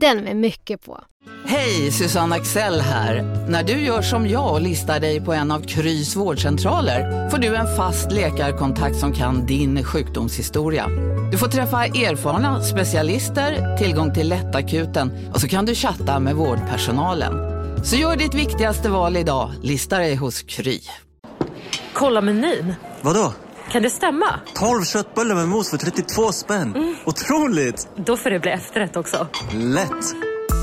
Den med mycket på. Hej, Susanne Axel här. När du gör som jag och listar dig på en av Krys vårdcentraler får du en fast läkarkontakt som kan din sjukdomshistoria. Du får träffa erfarna specialister, tillgång till lättakuten och så kan du chatta med vårdpersonalen. Så gör ditt viktigaste val idag, listar dig hos Kry. Kolla menyn. Vadå? Kan det stämma? 12 köttbullar med mos för 32 spänn. Otroligt! Då får det bli efterrätt också. Lätt!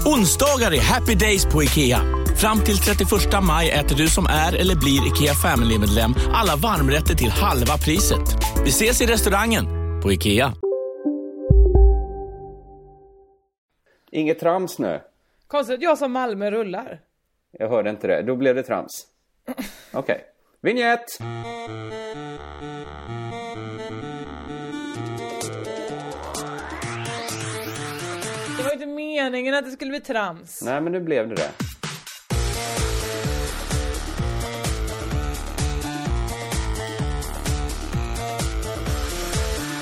Onsdagar är happy days på IKEA. Fram till 31 maj äter du som är eller blir IKEA Family-medlem alla varmrätter till halva priset. Vi ses i restaurangen på IKEA. Inget trams nu. Konstigt, jag som Malmö rullar. Jag hörde inte det. Då blev det trams. Okej. Vignett! Det var ju inte meningen att det skulle bli trams. Nej, men nu blev det det.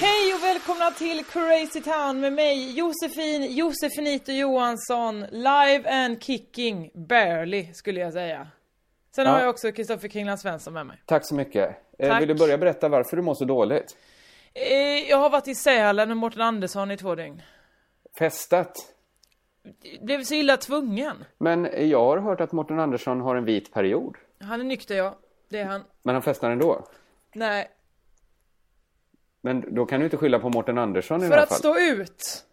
Hej och välkomna till Crazy Town med mig Josefin Josefinito Johansson. Live and kicking, barely skulle jag säga. Sen Ja. har jag också Kristoffer Kringland Svensson med mig. Tack så mycket. Eh, Tack. Vill du börja berätta varför du mår så dåligt? Eh, Jag har varit i Sälen med Mårten Andersson i två dygn. Festat? Blev så illa tvungen. Men jag har hört att Morten Andersson har en vit period. Han är nykter ja, det är han. Men han festar ändå. Nej, Men då kan du inte skylla på Morten Andersson i för alla att fall. stå ut.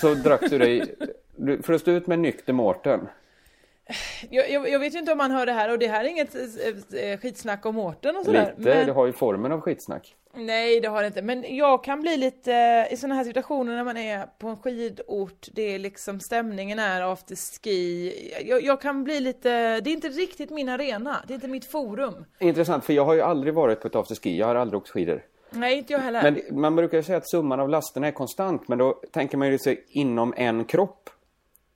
Så drack du dig... Du, för att stå ut med nykter Morten. Jag, jag, jag vet ju inte om man hör det här och det här är inget eh, eh, skitsnack om Mårten och sådär. Lite, det har ju formen av skitsnack. Nej det har det inte, men jag kan bli lite i sådana här situationer när man är på en skidort, det är liksom stämningen är after ski. Jag, jag kan bli lite, det är inte riktigt min arena, det är inte mitt forum. Intressant, för jag har ju aldrig varit på ett afterski. Jag har aldrig åkt skidor. Nej inte jag heller. Men man brukar ju säga att summan av lasterna är konstant, men då tänker man ju sig inom en kropp.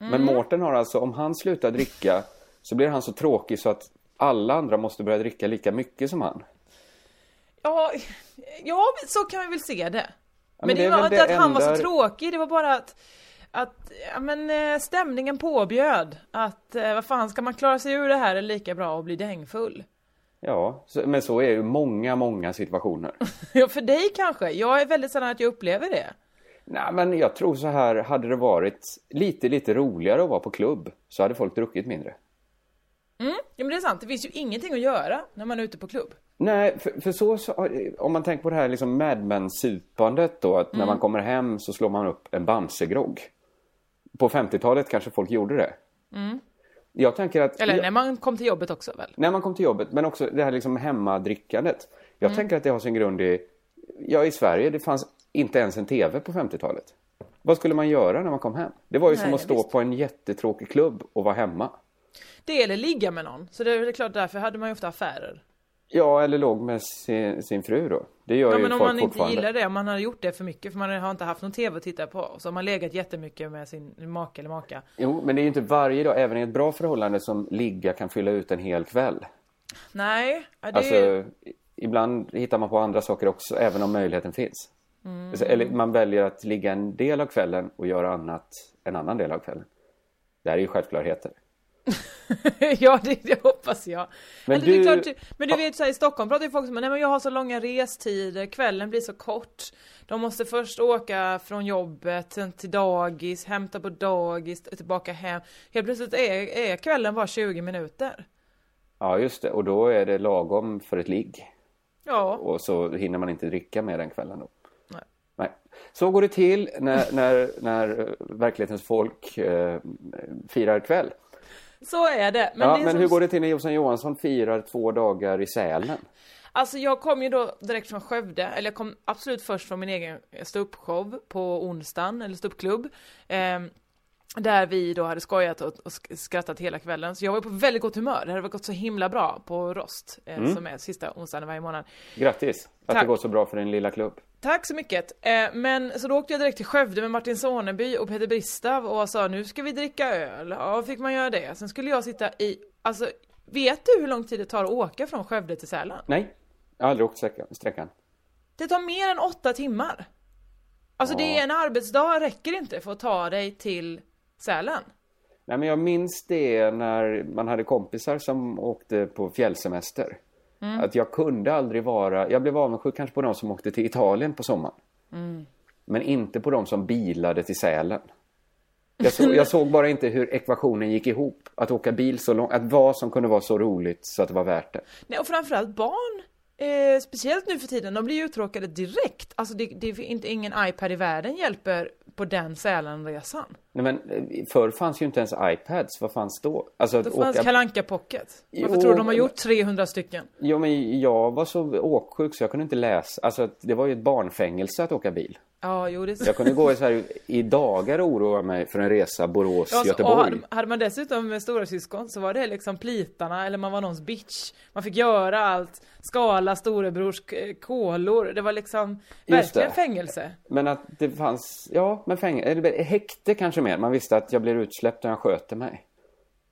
Men Mårten har alltså, om han slutar dricka så blir han så tråkig så att alla andra måste börja dricka lika mycket som han. Ja, ja så kan vi väl se det. Ja, men det, är var väl inte det att han var så enda- tråkig, det var bara att, att ja, men, eh, stämningen påbjöd att eh, vad fan ska man klara sig ur det här eller lika bra att bli dängfull? Ja, så, men så är ju många, många situationer. Ja för dig kanske, jag är väldigt sällan att jag upplever det. Nej, men jag tror så här, hade det varit lite, lite roligare att vara på klubb så hade folk druckit mindre. Ja men det är sant, det finns ju ingenting att göra när man är ute på klubb. Nej, för, för så, så, om man tänker på det här liksom Mad Men-supandet då, Mm. att när man kommer hem så slår man upp en Bamsegrogg. På 50-talet kanske folk gjorde det. Jag tänker att... Mm. Eller jag, när man kom till jobbet också väl? när man kom till jobbet, men också det här liksom hemmadrickandet. Mm. Jag tänker att det har sin grund i... Ja, i Sverige, det fanns inte ens en TV på 50-talet. Vad skulle man göra när man kom hem? Det var ju som Nej, att stå visst. på en jättetråkig klubb och vara hemma. Det eller ligga med någon, så det är väl klart därför hade man ju ofta affärer. Ja, eller låg med sin, sin fru då. Det gör Ja ju men om folk man inte fortfarande. gillar det, om man har gjort det för mycket för man har inte haft någon TV att titta på och så har man legat jättemycket med sin make eller maka. Jo, men det är ju inte varje dag, även i ett bra förhållande, som ligga kan fylla ut en hel kväll. Nej, ja, det Alltså, är ju... i- ibland hittar man på andra saker också, även om möjligheten finns. Mm. Alltså, eller man väljer att ligga en del av kvällen och göra annat en annan del av kvällen. Det här är ju självklarheter. ja det, det hoppas jag. Men Men, det är du- klart, men du vet så här, i Stockholm pratar ju folk som nej men jag har så långa restider, kvällen blir så kort. De måste först åka från jobbet, sen till dagis, hämta på dagis, tillbaka hem. Helt plötsligt är, är kvällen bara 20 minuter. Ja, just det. Och då är det lagom för ett ligg. Ja, Och så hinner man inte dricka mer den kvällen då. Nej. Nej. Så går det till när, när, när eh, verklighetens folk eh, firar kväll. så är det. ja, det är men som- hur går det till när Jossan Johansson firar två dagar i Sälen? Alltså jag kom ju då direkt från Skövde, eller jag kom eh, absolut först från min egen ståuppshow på onsdagen, eller ståuppklubb. Ehm, Där vi då hade skojat och, och sk- skrattat hela kvällen. Så jag var på väldigt gott humör. Det hade gått så himla bra på Rost, eh, som är sista onsdagen varje månad. Grattis att det Tack. går så bra för din lilla klubb. Tack så mycket. Eh, men så då åkte jag direkt till Skövde med Martin Soneby och Peter Bristav och sa nu ska vi dricka öl. Ja, fick man göra det. Sen skulle jag sitta i, alltså vet du hur lång tid det tar att åka från Skövde till Sälen? Nej, jag har aldrig åkt sträckan- sträckan. Det tar mer än åtta timmar. Alltså det är en arbetsdag räcker inte för att ta dig till Sälen. Nej, men jag minns det när man hade kompisar som åkte på fjällsemester. Mm. Att jag kunde aldrig vara, jag blev avundsjuk kanske på de som åkte till Italien på sommaren. Mm. Men inte på de som bilade till Sälen. Jag, så, jag såg bara inte hur ekvationen gick ihop. Att åka bil så långt, att vad som kunde vara så roligt så att det var värt det. Nej, och framförallt barn, eh, speciellt nu för tiden, de blir ju uttråkade direkt. Alltså det, det är inte, ingen iPad i världen hjälper på den Sälenresan. Nej, men eh, förr fanns ju inte ens iPads, vad fanns då? Alltså att Då fanns åka... Kalle Anka Pocket. Varför Jo, tror du de har men- gjort 300 stycken? Jo, men jag var så åksjuk så jag kunde inte läsa. Alltså, att det var ju ett barnfängelse att åka bil. Ja, jo det är så. Jag kunde gå i, så här, i dagar och oroa mig för en resa Ja, så- och Borås-Göteborg. hade, hade man dessutom med stora syskon så var det liksom plitarna eller man var någons bitch. Man fick göra allt, skala storebrors k- kolor. Det var liksom Just verkligen det. fängelse. Men att det fanns, ja, men fäng- eller häkte kanske mer. Man visste att jag blir utsläppt när jag sköter mig.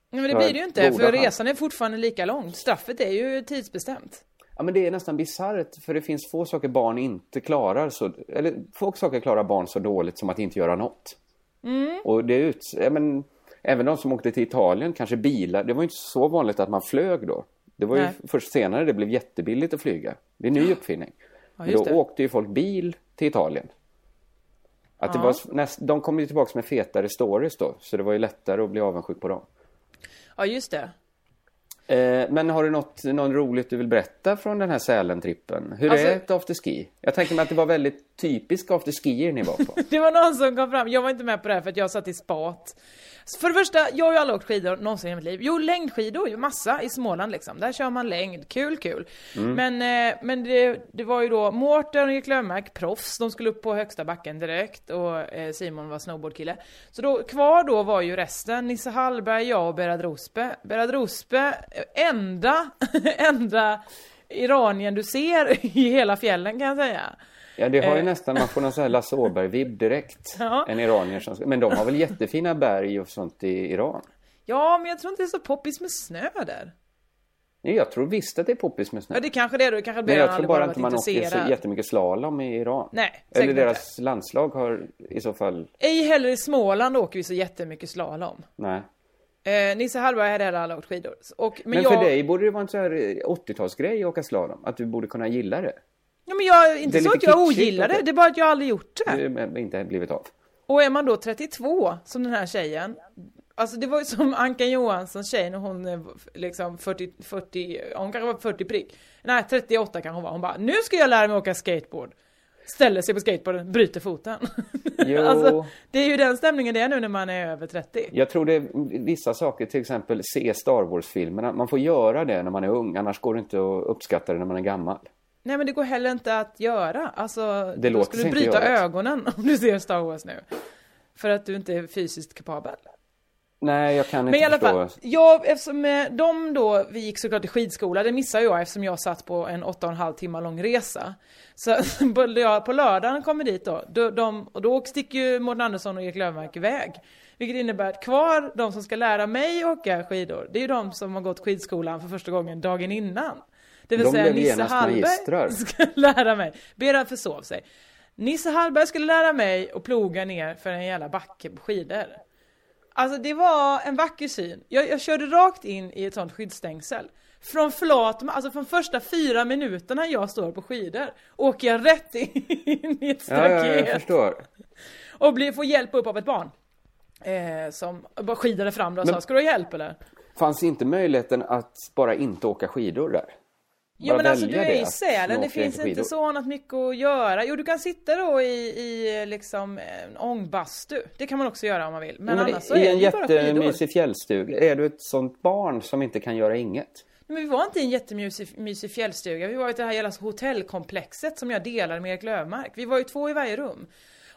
Nej, men det Ja, blir det ju inte goda för chans. resan är fortfarande lika lång. Straffet är ju tidsbestämt. Ja, men det är nästan bisarrt, för det finns få saker barn inte klarar så, eller få saker klarar barn så dåligt som att inte göra något. Mm. Och det är ut, ja, men, även de som åkte till Italien, kanske bilar, det var ju inte så vanligt att man flög då. Det var ju Nej. först senare det blev jättebilligt att flyga. Det är en ny uppfinning. Men just då det. åkte ju folk bil till Italien. Att det var, s- näst, de kom ju tillbaka med fetare stories då, så det var ju lättare att bli avundsjuk på dem. Ja just det. Eh, men har du något, någon roligt du vill berätta från den här Sälentrippen? Hur Alltså- är ett afterski? Jag tänker mig att det var väldigt typiska afterskier ni var på. Det var någon som kom fram, jag var inte med på det här för att jag satt i spat. Så För det första, jag har ju aldrig åkt skidor någonsin i mitt liv. Jo, längdskidor, ju massa i Småland liksom. Där kör man längd, kul kul. Men, eh, men det, det var ju då Mårten och Erik Löfmark, proffs, de skulle upp på högsta backen direkt och eh, Simon var snowboardkille. Så då, kvar då var ju resten, Nisse Hallberg, jag och Berat Rospe. Berat Rospe, eh, enda, enda iranien du ser i hela fjällen kan jag säga. Ja, det har ju Eh. nästan, man får någon sån här Lasse Åberg-vibb direkt. Ja. En iranier som, men de har väl jättefina berg och sånt i Iran? Ja, men jag tror inte det är så poppis med snö där. Nej, Jag tror visst att det är poppis med snö. Ja, det kanske det är då. Det kanske Men blir jag han tror aldrig bara varit inte man åker så intresserad. jättemycket slalom i Iran. Nej, Eller säkert deras landslag har i så fall, Ej heller i Småland åker vi så jättemycket slalom. nej. Eh, Nisse Hallberg hade heller aldrig åkt skidor. Och, men, Men, jag, för dig borde det vara en sån här eh, 80-talsgrej att åka slalom, att du borde kunna gilla det. Ja, men jag, Det inte är så lite att jag kitschigt ogillar det, också. det är bara att jag aldrig gjort det. Du har inte blivit av. Och är man då 32, som den här tjejen. Alltså det var ju som Ankan Johanssons tjej när hon eh, liksom 40, 40, hon kanske var 40 prick. Nej 38 kanske hon var. Hon bara, nu ska jag lära mig åka skateboard. Ställer sig på skateboarden, bryter foten. Jo. alltså, det är ju den stämningen det är nu när man är över 30. Jag tror det är vissa saker, till exempel se Star Wars-filmerna. Man får göra det när man är ung, annars går det inte att uppskatta det när man är gammal. Nej men det går heller inte att göra. Alltså, Det då låter skulle sig du inte bryta göras. ögonen om du ser Star Wars nu. För att du inte är fysiskt kapabel. Nej, jag kan Men i inte alla förstå. fall, jag, eftersom eh, de då, vi gick såklart i skidskola, det missade jag eftersom jag satt på en åtta och en halv timmar lång resa. Så på lö- på lördagen kommer dit då, då de, och då sticker ju Mårten Andersson och Erik Löfmark iväg. Vilket innebär att kvar, de som ska lära mig åka skidor, det är ju de som har gått skidskolan för första gången dagen innan. Det vill De säga blev Nisse genast magistrar. Hallberg ska lära mig. Berat försov sig. Nisse Hallberg skulle lära mig att ploga ner för en jävla backe på skidor. Alltså det var en vacker syn. Jag, jag körde rakt in i ett sånt skyddsstängsel. Från flat, alltså från första fyra minuterna jag står på skidor åker jag rätt in i ett Ja, ja, staket jag förstår. och blir, får hjälp upp av ett barn. Eh, som bara skidade fram då och sa Men- ska du ha hjälp eller? Fanns inte möjligheten att bara inte åka skidor där? Ja Bara men alltså du välja är det, i att nu Sälen, åker det jag finns inte inte skidor. så annat mycket att göra. Jo du kan sitta då i, i liksom en ångbastu. Det kan man också göra om man vill. Men, Men annars så är I det en ju bara skidor. jättemysig fjällstuga, är du ett sånt barn som inte kan göra inget? Men vi var inte i en jättemysig mysig fjällstuga, vi var i det här jävla hotellkomplexet som jag delade med Erik Löfmark. Vi var ju två i varje rum.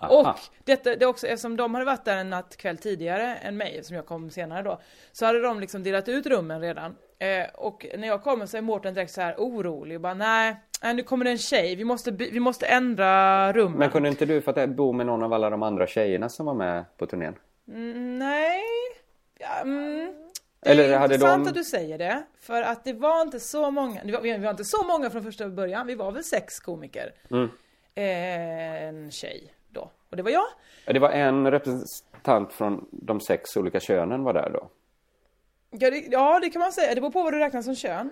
Aha. Och detta, det är också, eftersom de hade varit där en natt kväll tidigare än mig, som jag kom senare då, så hade de liksom delat ut rummen redan. Eh, och när jag kommer så är Mårten direkt så här orolig och bara nej, nej, nu kommer det en tjej, vi måste, by- vi måste ändra rummen. Men kunde inte du för att jag bor med någon av alla de andra tjejerna som var med på turnén? Mm, Nej. Ja, mm. Det är Eller hade intressant de- att du säger det, för att det var inte så många, det var, vi var inte så många från första början, vi var väl sex komiker. Mm. Eh, En tjej då, och det var jag. Ja, Det var en representant från de sex olika könen var där då. Ja det, ja, det kan man säga, det beror på vad du räknar som kön.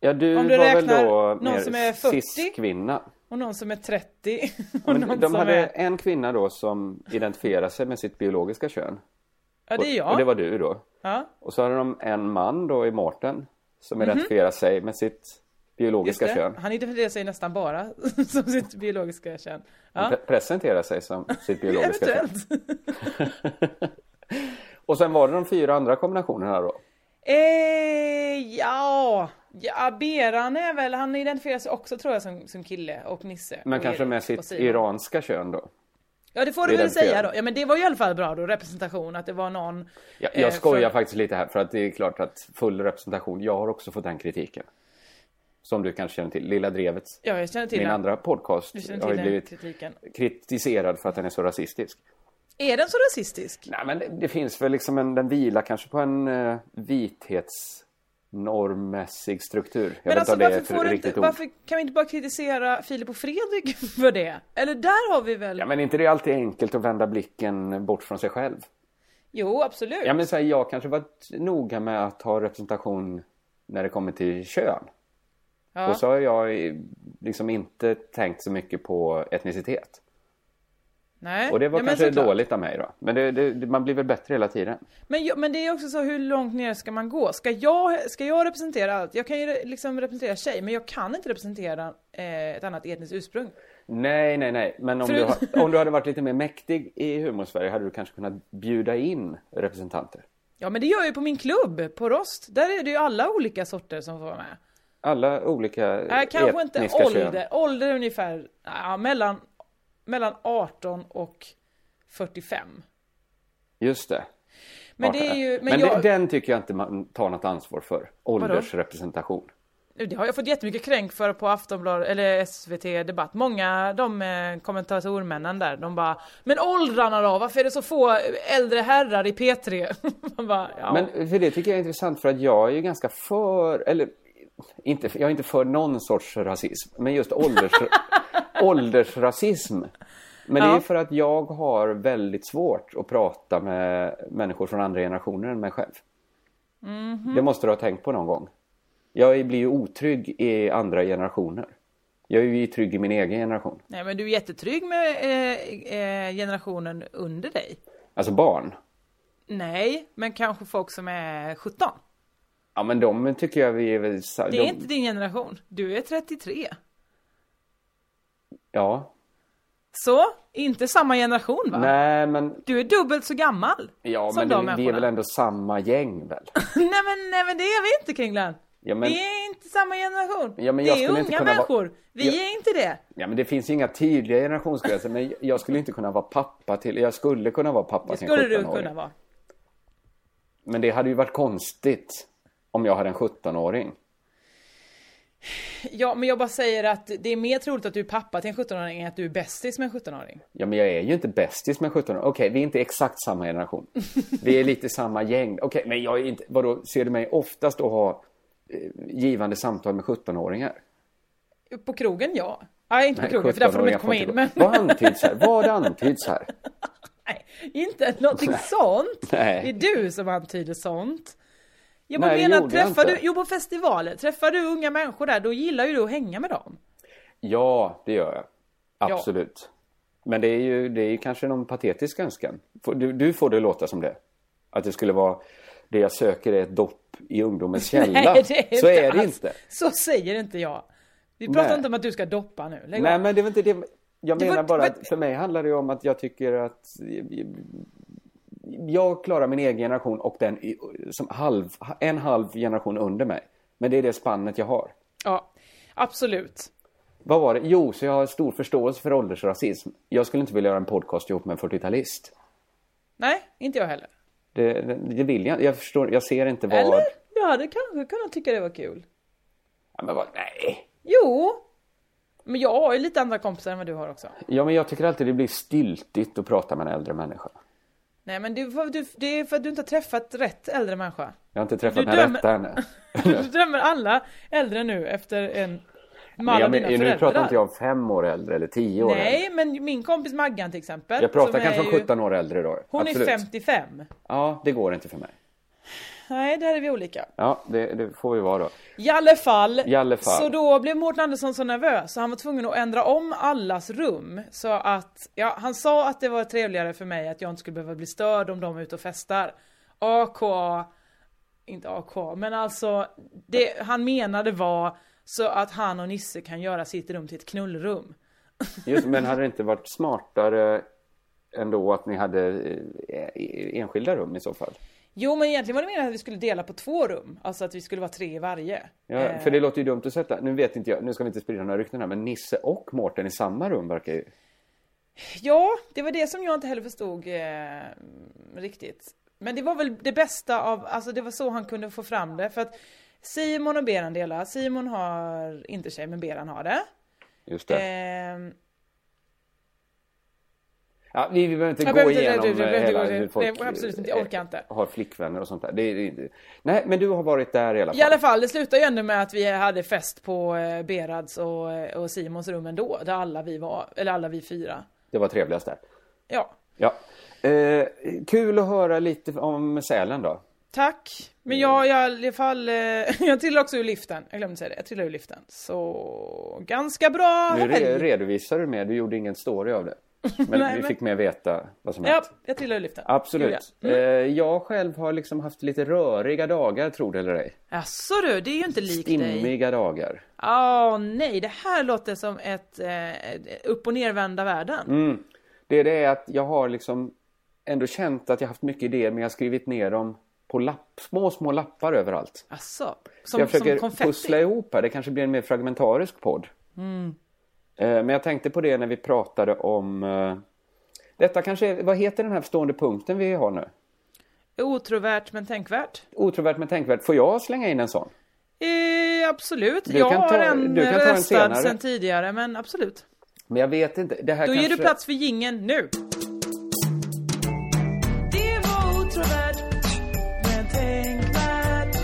Ja, du, Om du var väl räknar då någon som är 40? cis-kvinna. Och någon som är 30 och Men någon de som hade är... en kvinna då som identifierade sig med sitt biologiska kön. Ja det är Och jag. det var du då. Ja, Och så hade de en man då i Mårten som identifierade sig med sitt Mhm. just biologiska det. kön. Han identifierar sig nästan bara som sitt biologiska kön. Han Ja, pre- presenterade sig som sitt biologiska kön. eventuellt. Och sen var det de fyra andra kombinationerna då. Eh, ja, ja Beran är väl, han identifierar sig också tror jag som, som kille och Nisse. Men och kanske Erik med och sitt Simon. iranska kön då. Ja det får du väl identifierar. säga då. Ja men det var ju i alla fall bra då, representation, att det var någon. Jag, eh, jag skojar från- faktiskt lite här för att det är klart att full representation, jag har också fått den kritiken. Som du kanske känner till, Lilla Drevet, Ja jag känner till min den. andra podcast, Du känner har ju till den blivit kritiken. kritiserad för att den är så rasistisk. Är den så rasistisk? Nej men det, det finns väl liksom en, den vilar kanske på en eh, vithetsnormmässig struktur. Jag Men vet inte alltså om det varför, är ett får du riktigt inte, ord. varför kan vi inte bara kritisera Filip och Fredrik för det? Eller där har vi väl? Ja men inte det är alltid enkelt att vända blicken bort från sig själv. Jo absolut. Ja men så här, jag kanske varit noga med att ha representation när det kommer till kön. Ja. Och så har jag eh, liksom inte tänkt så mycket på etnicitet. Nej. Och det var Eh, ja, men kanske såklart. dåligt av mig då. Men det, det, det- man blir väl bättre hela tiden. Men, jag, men det är också så, hur långt ner ska man gå? Ska jag, ska jag representera allt? Jag kan ju re- liksom representera tjej, men jag kan inte representera eh, ett annat etniskt ursprung. Nej, nej, nej. Men om, du, Förut- har- om du hade varit lite mer mäktig i humorsverige hade du kanske kunnat bjuda in representanter. Ja, men det gör jag ju på min klubb, på Rost. Där är det ju alla olika sorter som får vara med. Alla olika Nej, Äh, kanske inte etniska ålder. kön. Ålder är ungefär ja, mellan, mellan 18 och 45. Just det. Men Arton. det är ju... Men, Men det- jag, den tycker jag inte man tar något ansvar för. Åldersrepresentation. Nu, Eh, Det har jag fått jättemycket kränk för på Aftonbladet eller SVT Debatt. Många de eh, kommentatormännen där, de bara Men åldrarna då? Varför är det så få äldre herrar i P3? Man bara, ja. Men för det tycker jag är intressant för att jag är ju ganska för, eller inte, jag är inte för någon sorts rasism, men just ålders, åldersrasism. Men det är Ja. för att jag har väldigt svårt att prata med människor från andra generationer än mig själv. Mhm. Det måste du ha tänkt på någon gång. Jag blir ju otrygg i andra generationer. Jag är ju trygg i min egen generation. Nej men du är jättetrygg med eh, eh, generationen under dig. Alltså barn. Nej, men kanske folk som är 17. Ja men de tycker jag vi är väl... sa- Det är de- inte din generation. Du är 33. Ja. Så, inte samma generation va? Nej men Du är dubbelt så gammal Ja, som men det, de vi är människorna. väl ändå samma gäng väl? nej, men, nej men det är vi inte Kringland. Ja, men, Vi är inte samma generation. Ja, men jag det är skulle unga inte kunna vara- människor. Vi Jag- är inte det. ja, men det finns ju inga tydliga generationsgränser, men jag skulle inte kunna vara pappa till, jag skulle kunna vara pappa Det till skulle en du 17-åring. kunna vara. Men det hade ju varit konstigt om jag hade en 17-åring. Ja, men jag bara säger att det är mer troligt att du är pappa till en 17-åring än att du är bästis med en 17-åring. Ja, men jag är ju inte bästis med en 17-åring. Okej, vi är inte exakt samma generation. Vi är lite samma gäng. Okej, men jag är inte, vadå, ser du mig oftast att ha eh, givande samtal med 17-åringar? På krogen, ja. Nej, inte på Nej, krogen, för där får de 17-åringar inte komma in. Men... gå. Vad antyds här? Vad antyds här? Nej, inte någonting sånt. Nej. Det är du som antyder sånt. Jag bara Nej, det menar, gjorde jag träffar inte. du, jo på festivaler, träffar du unga människor där, då gillar ju du att hänga med dem. Ja, det gör jag. Ja. Absolut. Men det är ju det är ju kanske någon patetisk önskan. Får- Du, du får det låta som det. Att det skulle vara det jag söker är ett dopp i ungdomens källa. Så är det alls. inte. Så säger inte jag. Vi pratar Nej. inte om att du ska doppa nu. Lägg Nej, av. men det var inte det. Jag Det var- menar bara men- att för mig handlar det ju om att jag tycker att jag klarar min egen generation och den i- som halv, en halv generation under mig. Men det är det spannet jag har. Ja, absolut. Vad var det? Jo, så jag har stor förståelse för åldersrasism. Jag skulle inte vilja göra en podcast ihop med en 40-talist. Nej, inte jag heller. Det, det, det vill jag inte. Jag förstår, jag ser inte vad... Eller? Jag hade kanske kunnat tycka det var kul. Ja, men vad, nej. Jo! Men jag har ju lite andra kompisar än vad du har också. Ja, men jag tycker alltid det blir styltigt att prata med en äldre människa. Nej men du, vad du, det är för att du inte har träffat rätt äldre människa. Jag har inte träffat Du den dömer- rätta ännu. Du dömer alla äldre nu efter en Men mall jag, av dina men, nu föräldrar. pratar inte jag om fem år äldre eller tio år äldre. Nej men min kompis Maggan till exempel. Jag pratar som är kanske om ju- 17 år äldre då. Hon Absolut. är 55. Ja, det går inte för mig. Nej där är vi olika. Ja, det, det får vi vara då. I alla fall, I alla fall. Så då blev Mårten Andersson så nervös så han var tvungen att ändra om allas rum. Så att, ja han sa att det var trevligare för mig att jag inte skulle behöva bli störd om de är ute och festar. AKA, inte AKA, men alltså det han menade var så att han och Nisse kan göra sitt rum till ett knullrum. Just, men hade det inte varit smartare ändå att ni hade eh, enskilda rum i så fall? Jo men egentligen var det meningen att vi skulle dela på två rum, alltså att vi skulle vara tre i varje. Ja, för det låter ju dumt att sätta, nu vet inte jag, nu ska vi inte sprida några rykten här, men Nisse och Mårten i samma rum verkar ju... Ja, det var det som jag inte heller förstod eh, riktigt. Men det var väl det bästa av, alltså det var så han kunde få fram det. För att Simon och Beran delar, Simon har inte tjej men Beran har det. Just det. Ehm, Ja, vi, vi behöver inte Jag gå behöver inte- igenom du- du eh, behöver inte hela gå- hur nej, folk absolut inte, eh, jag orkar inte. har flickvänner och sånt där. Det, är- det, nej, men du har varit där i alla fall. I alla fall, det slutade ju ändå med att vi hade fest på eh, Berads och, eh, och Simons rum ändå, där alla vi var, eller alla vi fyra. Det var trevligast där. Ja, Ja. Eh, kul att höra lite om Sälen då. tack. Men jag, Mm. jag i alla fall, eh, jag trillade också ur liften, jag glömde säga det, jag trillade ur liften. Så ganska bra Nu helg. re, redovisar du mer, du gjorde ingen story av det. Men Nej, vi men- fick mer veta vad som Ja, Mm. hänt. jag trillade ur liften. Gjorde Absolut. jag. Eh, jag själv har liksom haft lite röriga dagar, tror det eller ej. Jaså du, det är ju inte likt dig. Stimmiga dagar. Ja, nej, det här låter som ett eh, upp och nervända världen. Mm. Det är det att jag har liksom ändå känt att jag haft mycket idéer men jag har skrivit ner dem på lapp, små, små lappar överallt. Jaså, Så som, jag försöker som konfetti. pussla ihop här. Det kanske blir en mer fragmentarisk podd. Mm. Eh, Men jag tänkte på det när vi pratade om... eh, Detta kanske är, Vad heter den här stående punkten vi har nu? Otrovärt men tänkvärt. Otrovärt men tänkvärt. Får jag slänga in en sån? Eh, absolut, Du jag kan ta- har en eh, du kan ta en röstad senare. sen tidigare, men absolut. Men jag vet inte. Det här Då kanske... ger du plats för gingen nu. Det var otrovärt men tänkvärt.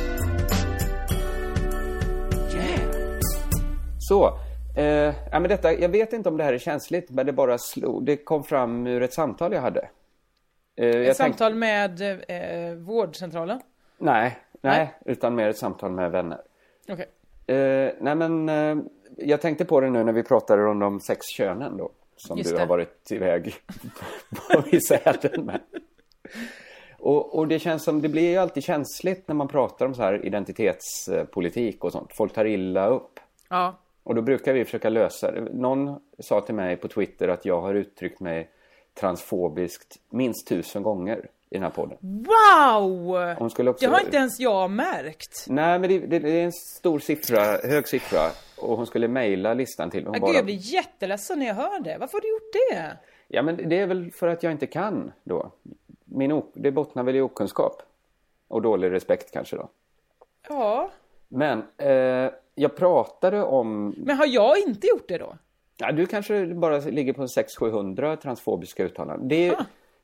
Så. Eh, ja, men detta, jag vet inte om det här är känsligt men det bara slog. Det kom fram ur ett samtal jag hade. Eh, jag Ett tänkte- samtal med eh, vårdcentralen. Nej, nej, utan mer ett samtal med vänner. Okej. Eh, nej men, eh, jag tänkte på det nu när vi pratade om de sex könen då. Som Just du det. har varit iväg på i Sälen med. Och, och det känns som, det blir ju alltid känsligt när man pratar om så här identitetspolitik och sånt. Folk tar illa upp. Ja. Och då brukar vi försöka lösa det. Någon sa till mig på Twitter att jag har uttryckt mig transfobiskt minst tusen gånger i den här podden. Mm. Wow! Hon skulle också- Mm, Det har inte ens jag märkt. Nej, men det, det, det är en stor siffra, hög siffra. Och hon skulle mejla listan till mig. Hon Ah, Gud, bara- jag blir jätteledsen när jag hör det. Varför har du gjort det? Ja, men det är väl för att jag inte kan då. Min ok- det bottnar väl i okunskap. Och dålig respekt kanske då. Ja, Men eh, jag pratade om... men har jag inte gjort det då? Ja, du kanske bara ligger på en 600-700 transfobiska uttalanden. Det är, ju-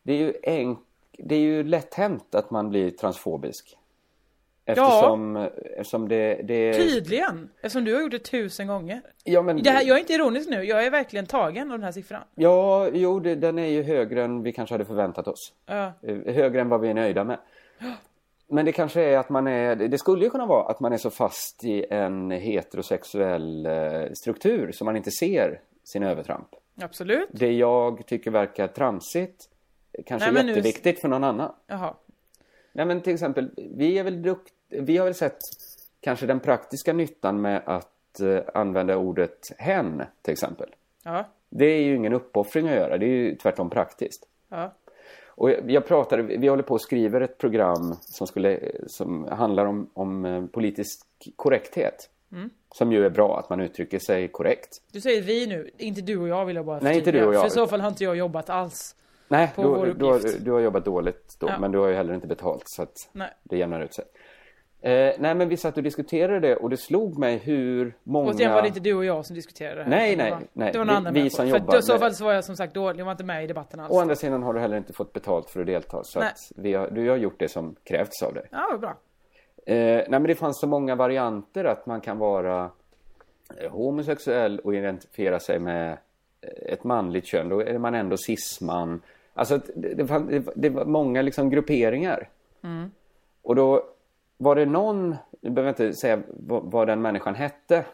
det, är ju enk, det är ju lätt hänt att man blir transfobisk. Eftersom, eftersom det... det Tydligen, eftersom du har gjort det tusen gånger. Eh, ja, men, Det här, jag är inte ironisk nu, jag är verkligen tagen av den här siffran. ja, jo, det, den är ju högre än vi kanske hade förväntat oss. Ja. Eh, högre än vad vi är nöjda med. Men det kanske är att man är, det skulle ju kunna vara att man är så fast i en heterosexuell eh, struktur så man inte ser sin övertramp. Absolut. Det jag tycker verkar tramsigt kanske Nej, men är nu- jätteviktigt för någon annan. Jaha. Nej men till exempel, vi är väl dukt... vi har väl sett kanske den praktiska nyttan med att eh, använda ordet hen till exempel. Ja. Det är ju ingen uppoffring att göra, det är ju tvärtom praktiskt. ja. Och jag, jag pratade, vi håller på och skriver ett Mm. program som, skulle, som handlar om, om eh, politisk korrekthet. Som ju är bra, att man uttrycker sig korrekt. Du säger vi nu, inte du och jag vill jag bara Nej, inte förtydliga, du och jag. För i så fall har inte jag jobbat alls. Nej, På då, vår då, uppgift. du har jobbat dåligt då, Ja. men du har ju heller inte betalt så att Nej. det jämnar ut sig. Eh, nej, men vi satt och diskuterade det och det slog mig hur många... Och sen var det inte du och jag som diskuterade det här. Nej, utan det nej, var- nej. Det var Vi- någon annan vi människa. som För att jobbar I så med- fall så var jag som sagt dålig, jag var inte med i debatten alls. Å andra sidan har du heller inte fått betalt för att delta så Nej. att vi har, du har gjort det som krävts av dig. Ja, vad bra. Eh, nej, men det fanns så många varianter att man kan vara eh, homosexuell och identifiera sig med eh, ett manligt kön. Då är man ändå cisman. Alltså, att det, det, fann, det, det var många liksom grupperingar. Och då var det någon, nu behöver jag inte säga vad, vad den människan hette.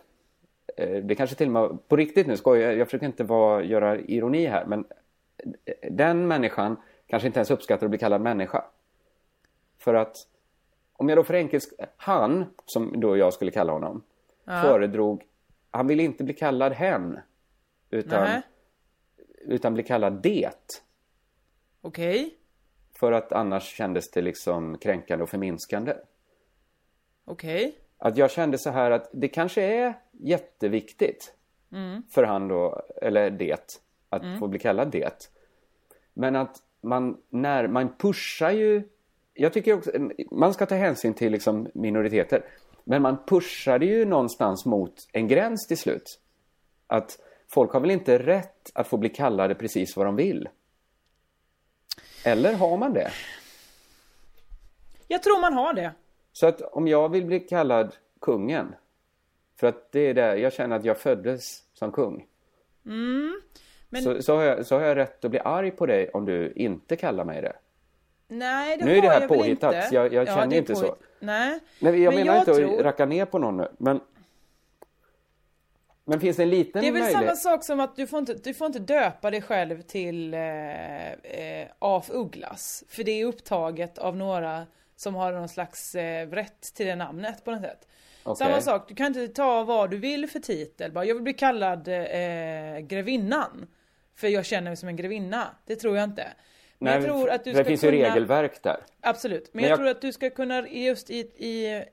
Eh, det kanske till och med, på riktigt nu, skojar jag, jag försöker inte vara, göra ironi här, men eh, den människan kanske inte ens uppskattar att bli kallad människa. För att om jag då för enkelt... Han, som då jag skulle kalla honom, föredrog... Han ville inte bli kallad hen, utan, Nej. utan bli kallad det. Okej. För att annars kändes det liksom kränkande och förminskande. Okej. Att jag kände så här att det kanske är jätteviktigt för han då, eller det, att få bli kallad det. Men att man, när, man pushar ju... Jag tycker också, man ska ta hänsyn till liksom minoriteter. Men man pushade ju någonstans mot en gräns till slut. Att folk har väl inte rätt att få bli kallade precis vad de vill? Eller har man det? Jag tror man har det. Så att om jag vill bli kallad kungen, för att det är där jag känner att jag föddes som kung. Mm, men- så, så, har jag, så har jag rätt att bli arg på dig om du inte kallar mig det. Nej, det Nu är det har här jag väl påhittat, inte. jag- jag Ja, känner det är inte så. påhitt- Nej. Nej, jag Men menar jag inte tror- att racka ner på någon nu, men... Men finns det en liten Det är väl möjlighet? samma sak som att du får inte, du får inte döpa dig själv till eh, eh, af Ugglas. För det är upptaget av några som har någon slags eh, rätt till det namnet på något sätt. Okej. Samma sak, du kan inte ta vad du vill för titel. Bara, jag vill bli kallad eh, grevinnan. För jag känner mig som en grevinna. Det tror jag inte. Men Nej, jag men tror f- att du för ska det finns kunna... ju regelverk där. Absolut, men, Men jag, jag- tror att du ska kunna just i,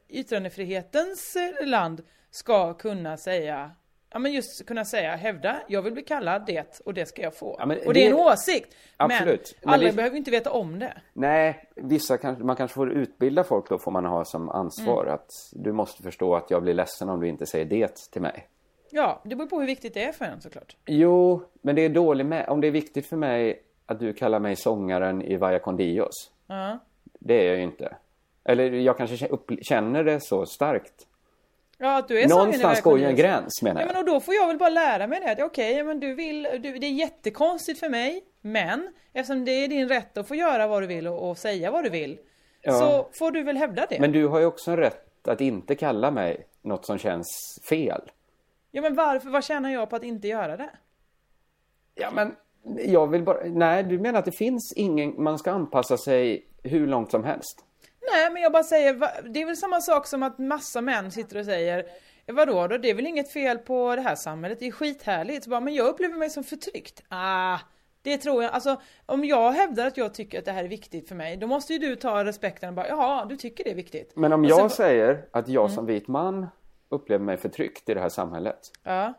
i yttrandefrihetens eh, land ska kunna säga Ja men just kunna säga, hävda, jag vill bli kallad det och det ska jag få. Ja, men och det är en det- åsikt. Absolut. Men Men alla det- behöver inte veta om det. Nej, vissa kanske, man kanske får utbilda folk då, får man ha som ansvar. Mm. Att du måste förstå att jag blir ledsen om du inte säger det till mig. Ja, det beror på hur viktigt det är för en såklart. Jo, men det är dålig med. Om det är viktigt för mig att du kallar mig sångaren i Vaya con Dios. Ja. Det är jag ju inte. Eller jag kanske kä- upp- känner det så starkt. Ja, att du är sången i Någonstans verkligheten. går ju en gräns menar Ja, jag. men och då får jag väl bara lära mig det att okej, men du vill, du, det är jättekonstigt för mig, men eftersom det är din rätt att få göra vad du vill och, och säga vad du vill, så får du väl hävda det. Men du har ju också en rätt att inte kalla mig något som känns fel. Ja men varför, vad tjänar jag på att inte göra det? Ja, men jag vill bara... Nej, du menar att det finns ingen... Man ska anpassa sig hur långt som helst. Nej men jag bara säger, va- det är väl samma sak som att massa män sitter och säger Vadå då, det är väl inget fel på det här samhället, det är skithärligt. Så bara, men jag upplever mig som förtryckt. Ah, det tror jag, alltså om jag hävdar att jag tycker att det här är viktigt för mig, då måste ju du ta respekten och bara, jaha du tycker det är viktigt. Men om Och sen jag ba- säger att jag som vit man upplever mig förtryckt i det här samhället. Ja,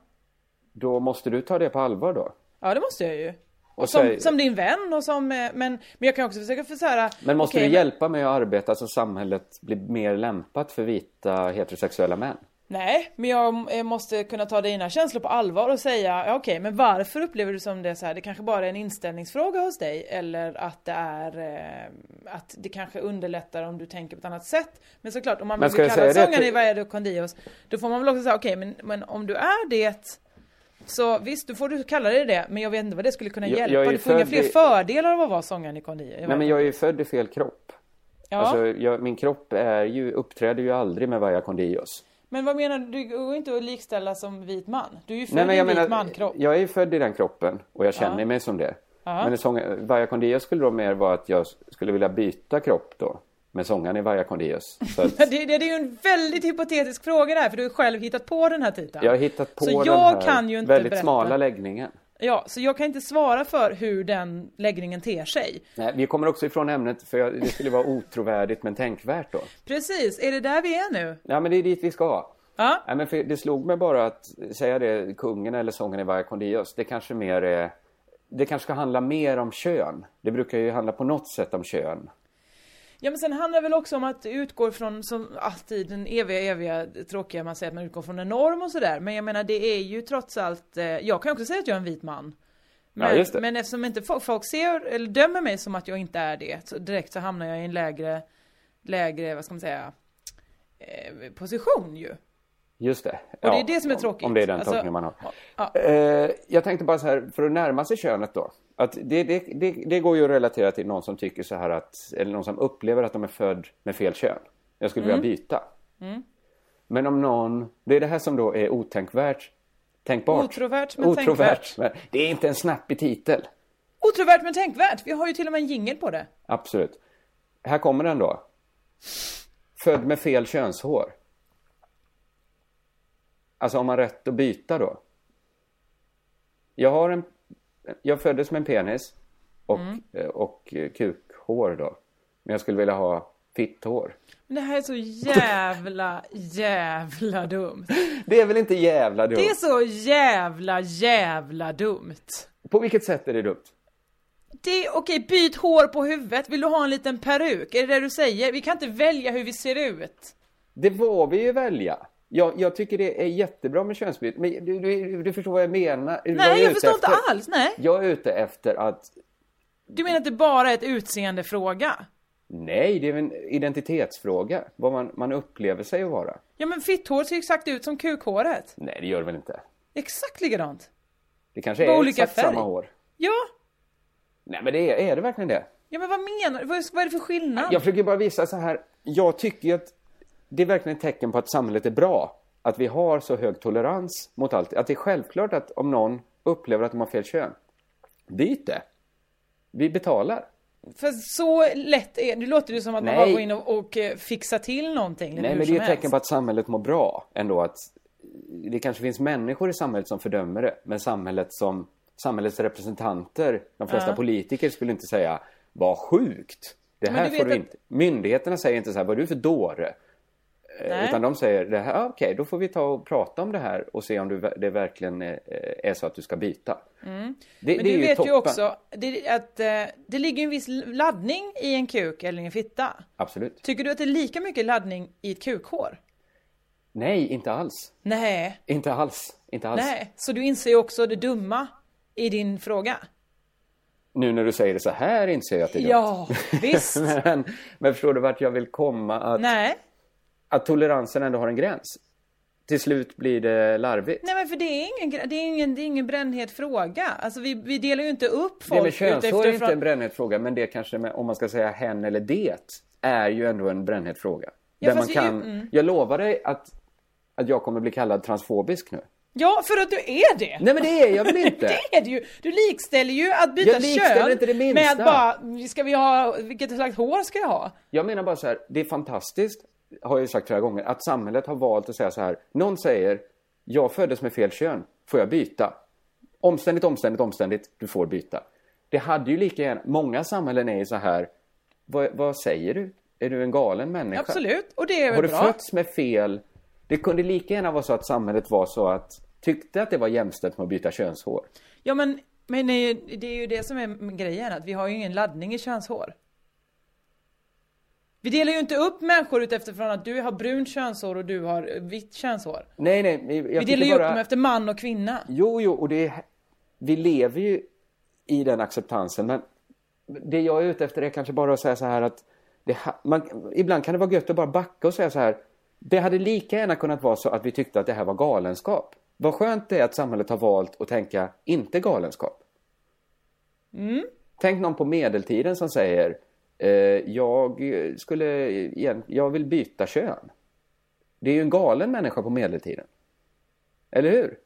Då måste du ta det på allvar då. ja det måste jag ju. Och Som, säg- som din vän och som, eh, men, men jag kan också försöka för så här, Men måste okej, du hjälpa mig att arbeta så samhället blir mer lämpat för vita heterosexuella män? Nej, men jag eh, måste kunna ta dina känslor på allvar och säga ja, okej, men varför upplever du som det så här? Det kanske bara är en inställningsfråga hos dig eller att det är eh, att det kanske underlättar om du tänker på ett annat sätt. Men såklart, om man Men vill ska bli jag kallad säga det sångaren i till- Valle Condios, då får man väl också säga okej, men, men om du är det så visst, då får du kalla dig det, men jag vet inte vad det skulle kunna Jag- jag hjälpa. är ju du får inga född fler i- fördelar av att vara sångaren i Condio. Nej men jag är ju född i fel kropp. ja. Alltså, jag, min kropp är ju, uppträder ju aldrig med Vaya Condios. Men vad menar du? Du går inte att likställa som vit man. Du är ju född Nej, men i en jag vit menar, mankropp. jag är ju född i den kroppen och jag känner mig som det. Men en sång, Vaya Condios skulle då mer vara att jag skulle vilja byta kropp då. Med sångaren i Vaya Condios. Så att, Ja, Det, det, det är ju en väldigt hypotetisk fråga där, för du har ju själv hittat på den här titeln. jag har hittat på så den jag här kan ju inte väldigt berätta. smala läggningen. Ja, så jag kan inte svara för hur den läggningen ter sig. Nej, vi kommer också ifrån ämnet för jag, det skulle vara otrovärdigt men tänkvärt då. Precis, är det där vi är nu? Ja men det är dit vi ska. Ja. Nej, men för det slog mig bara att säga det, kungen eller sången i varje kondios, det kanske mer är, det kanske ska handla mer om kön. Det brukar ju handla på något sätt om kön. Ja men sen handlar det väl också om att det utgår från, som alltid den eviga, eviga tråkiga man säger att man utgår från en norm och sådär. Men jag menar det är ju trots allt, eh, jag kan ju också säga att jag är en vit man. Men, Ja, just det. men eftersom inte folk, folk ser, eller dömer mig som att jag inte är det, så direkt så hamnar jag i en lägre, lägre, vad ska man säga, eh, position ju. Just det. Och det är det som är tråkigt. Om det är den Alltså, tolkningen man har. ja. Eh, jag tänkte bara så här, för att närma sig könet då. Att det, det, det, det går ju att relatera till någon som tycker så här att, eller någon som upplever att de är född med fel kön. Jag skulle Mm. vilja byta. Men om någon, det är det här som då är otänkvärt, tänkbart. Otrovärt, men Otrovärt, tänkvärt. men det är inte en snappig titel. Otrovärt men tänkvärt, vi har ju till och med en jingel på det. Absolut. Här kommer den då. Född med fel könshår. Alltså har man rätt att byta då? Jag har en... Jag föddes med en penis och, Mm. eh, och eh, kukhår då. Men jag skulle vilja ha fitthår. Men det här är så jävla, jävla dumt. Det är väl inte jävla dumt? Det är så jävla, jävla dumt. På vilket sätt är det dumt? Det är okej, byt hår på huvudet. Vill du ha en liten peruk? Är det det du säger? Vi kan inte välja hur vi ser ut. Det var vi ju välja. Jag, jag tycker det är jättebra med könsbyte. Men du, du, du förstår vad jag menar? vad Nej, är jag ute förstår inte efter. alls. Nej. Jag är ute efter att Du menar att det bara är ett utseendefråga? Nej, det är väl en identitetsfråga. Vad man, man upplever sig att vara. Ja, men fitthår ser ju exakt ut som kukhåret. Nej, det gör det väl inte. Exakt likadant. Det kanske Vad är olika exakt färg. samma hår. Ja, Nej, men det är, är det verkligen det? ja men vad menar du? Vad är- vad är det för skillnad? Jag försöker bara visa så här. Jag tycker ju att det är verkligen ett tecken på att samhället är bra. Att vi har så hög tolerans mot allt. Att det är självklart att om någon upplever att de har fel kön, byt det. Vi betalar. För så lätt är det. låter ju som att man Nej. bara går in och, och eh, fixar till någonting. lite Nej, hur men det som är ju ett helst. tecken på att samhället mår bra ändå. Att det kanske finns människor i samhället som fördömer det, men samhället som, samhällets representanter, de flesta politiker skulle inte säga vad sjukt. Det Men här du får vet du att- inte. Myndigheterna säger inte så här, vad är du för dåre? Eh, Nej. Utan de säger, det här, ah, okej, då får vi ta och prata om det här och se om du, det verkligen är, är så att du ska byta. Det, Men det är du ju vet toppen. ju också det, att eh, det ligger ju en viss laddning i en kuk eller i en fitta. Absolut. Tycker du att det är lika mycket laddning i ett kukhår? Nej, inte alls. Nej, Inte alls. Inte alls. nej. Så du inser ju också det dumma i din fråga? Nu när du säger det så här inser jag att det är dumt. Ja, visst. men, men förstår du vart jag vill komma? Att, nej. att toleransen ändå har en gräns. Till slut blir det larvigt. Nej men för det är ingen, gra- det är ingen, det är ingen brännhet fråga. Alltså vi, vi delar ju inte upp det med folk könshår är inte en från- brännhet fråga, men det kanske, med, om man ska säga hen eller det, är ju ändå en brännhet fråga. Ja, Där man fast vi är ju- kan, mm. Jag lovar dig att, att jag kommer bli kallad transfobisk nu. Ja, för att du är det! Nej men det är jag väl inte? Det är det ju! Du likställer ju att byta Jag likställer kön inte det minsta. med att bara, ska vi ha, vilket slags hår ska jag ha? Jag menar bara så här, det är fantastiskt, har jag ju sagt flera gånger, att samhället har valt att säga så här. Någon säger, jag föddes med fel kön, får jag byta? Omständigt, omständigt, omständigt, du får byta. Det hade ju lika gärna, många samhällen är ju så här, vad, vad säger du? Är du en galen människa? Absolut, och det är Har väl du bra. fötts med fel? Det kunde lika gärna vara så att samhället var så att, tyckte att det var jämställt med att byta könshår. Ja men, men det är ju- det är ju det som är grejen, att vi har ju ingen laddning i könshår. Vi delar ju inte upp människor utifrån att du har brunt könshår och du har eh, vitt könshår. Nej, nej, men jag Vi delar ju tycker upp bara... dem efter man och kvinna. Jo, jo, och det är, vi lever ju i den acceptansen. Men det jag är ute efter är kanske bara att säga så här att det, ha- man, ibland kan det vara gött att bara backa och säga så här. Det hade lika gärna kunnat vara så att vi tyckte att det här var galenskap. Vad skönt det är att samhället har valt att tänka inte galenskap. Tänk någon på medeltiden som säger eh, jag, skulle, igen- jag vill byta kön. Det är ju en galen människa på medeltiden. Eller hur?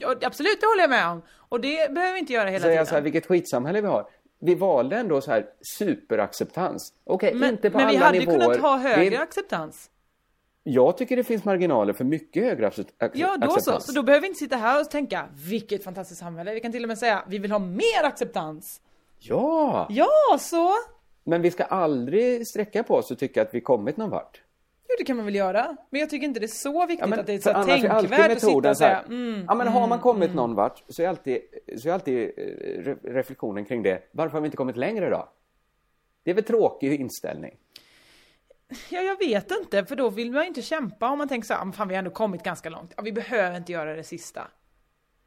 Ja, absolut, det håller jag med om. Och det behöver vi inte göra hela Säga tiden. så här, vilket skitsamhälle vi har. Vi valde ändå så här superacceptans. Okej, men inte på men alla vi hade nivåer. kunnat ha högre Det är- acceptans. Jag tycker det finns marginaler för mycket högre accept- ac- Ja, då acceptans. så. Så då behöver vi inte sitta här och tänka vilket fantastiskt samhälle. Vi kan till och med säga vi vill ha mer acceptans. Ja! Ja, så. Men vi ska aldrig sträcka på oss och tycka att vi kommit någon vart. Jo, det kan man väl göra. Men jag tycker inte det är så viktigt Ja, men, att det är för så här annars är alltid tänkvärt att sitta metoden och så här, säga mm, ja, men har man kommit någon vart så är alltid, så är alltid eh, re, reflektionen kring det, varför har vi inte kommit längre då? Det är väl tråkig inställning? Ja, jag vet inte, för då vill man ju inte kämpa om man tänker så här, "Ah, men fan vi har ändå kommit ganska långt. Ja, vi behöver inte göra det sista.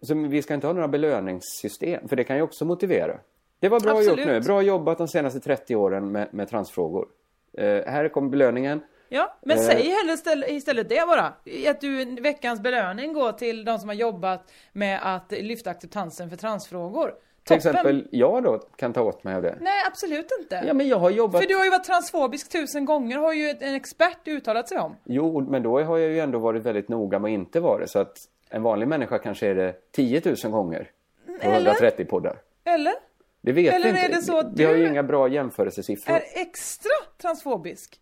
Så vi ska inte ha några belöningssystem, för det kan ju också motivera. Det var bra gjort Absolut. nu, bra jobbat de senaste 30 åren med, med transfrågor. Eh, här kommer belöningen. Ja, men Eh. säg hellre ställ, istället det bara. Att du, veckans belöning går till de som har jobbat med att lyfta acceptansen för transfrågor. Toppen. Till exempel jag då kan ta åt mig av det. Nej, absolut inte. Ja men jag har jobbat För du har ju varit transfobisk tusen gånger, har ju ett- en expert uttalat sig om. Jo, men då har jag ju ändå varit väldigt noga med att inte vara det. Så att en vanlig människa kanske är det 10 000 gånger på eller? 130 poddar. Eller? Det vet Eller vi inte. är det så att Vi har ju du inga bra jämförelsesiffror. Är extra transfobisk?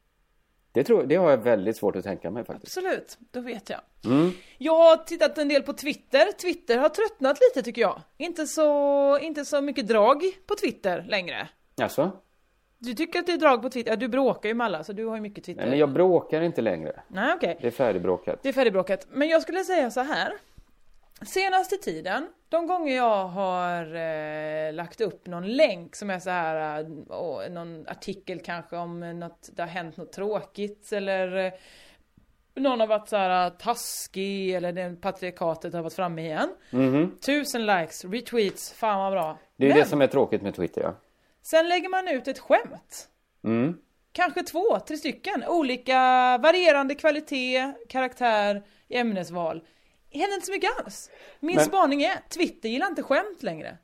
Det, tror, det har jag väldigt svårt att tänka mig faktiskt. Absolut, då vet jag. Mm. Jag har tittat en del på Twitter. Twitter har tröttnat lite tycker jag. Inte så, inte så mycket drag på Twitter längre. Alltså? Du tycker att det är drag på Twitter? Ja, du bråkar ju med alla så du har ju mycket Twitter. Nej, men jag bråkar inte längre. Nej, okej. Det är färdigbråkat. Det är färdigbråkat. Men jag skulle säga så här. Senaste tiden, de gånger jag har eh, lagt upp någon länk som är så här, eh, åh, någon artikel kanske om eh, något, det har hänt något tråkigt eller eh, någon har varit så här eh, taskig eller den patriarkatet har varit framme igen. Mhm. Tusen likes, retweets, fan vad bra. Det är ju Men det som är tråkigt med Twitter ja. sen lägger man ut ett skämt. Mm. Kanske två, tre stycken. Olika varierande kvalitet, karaktär, ämnesval. Det händer inte så mycket alls. Min Men- spaning är, Twitter gillar inte skämt längre.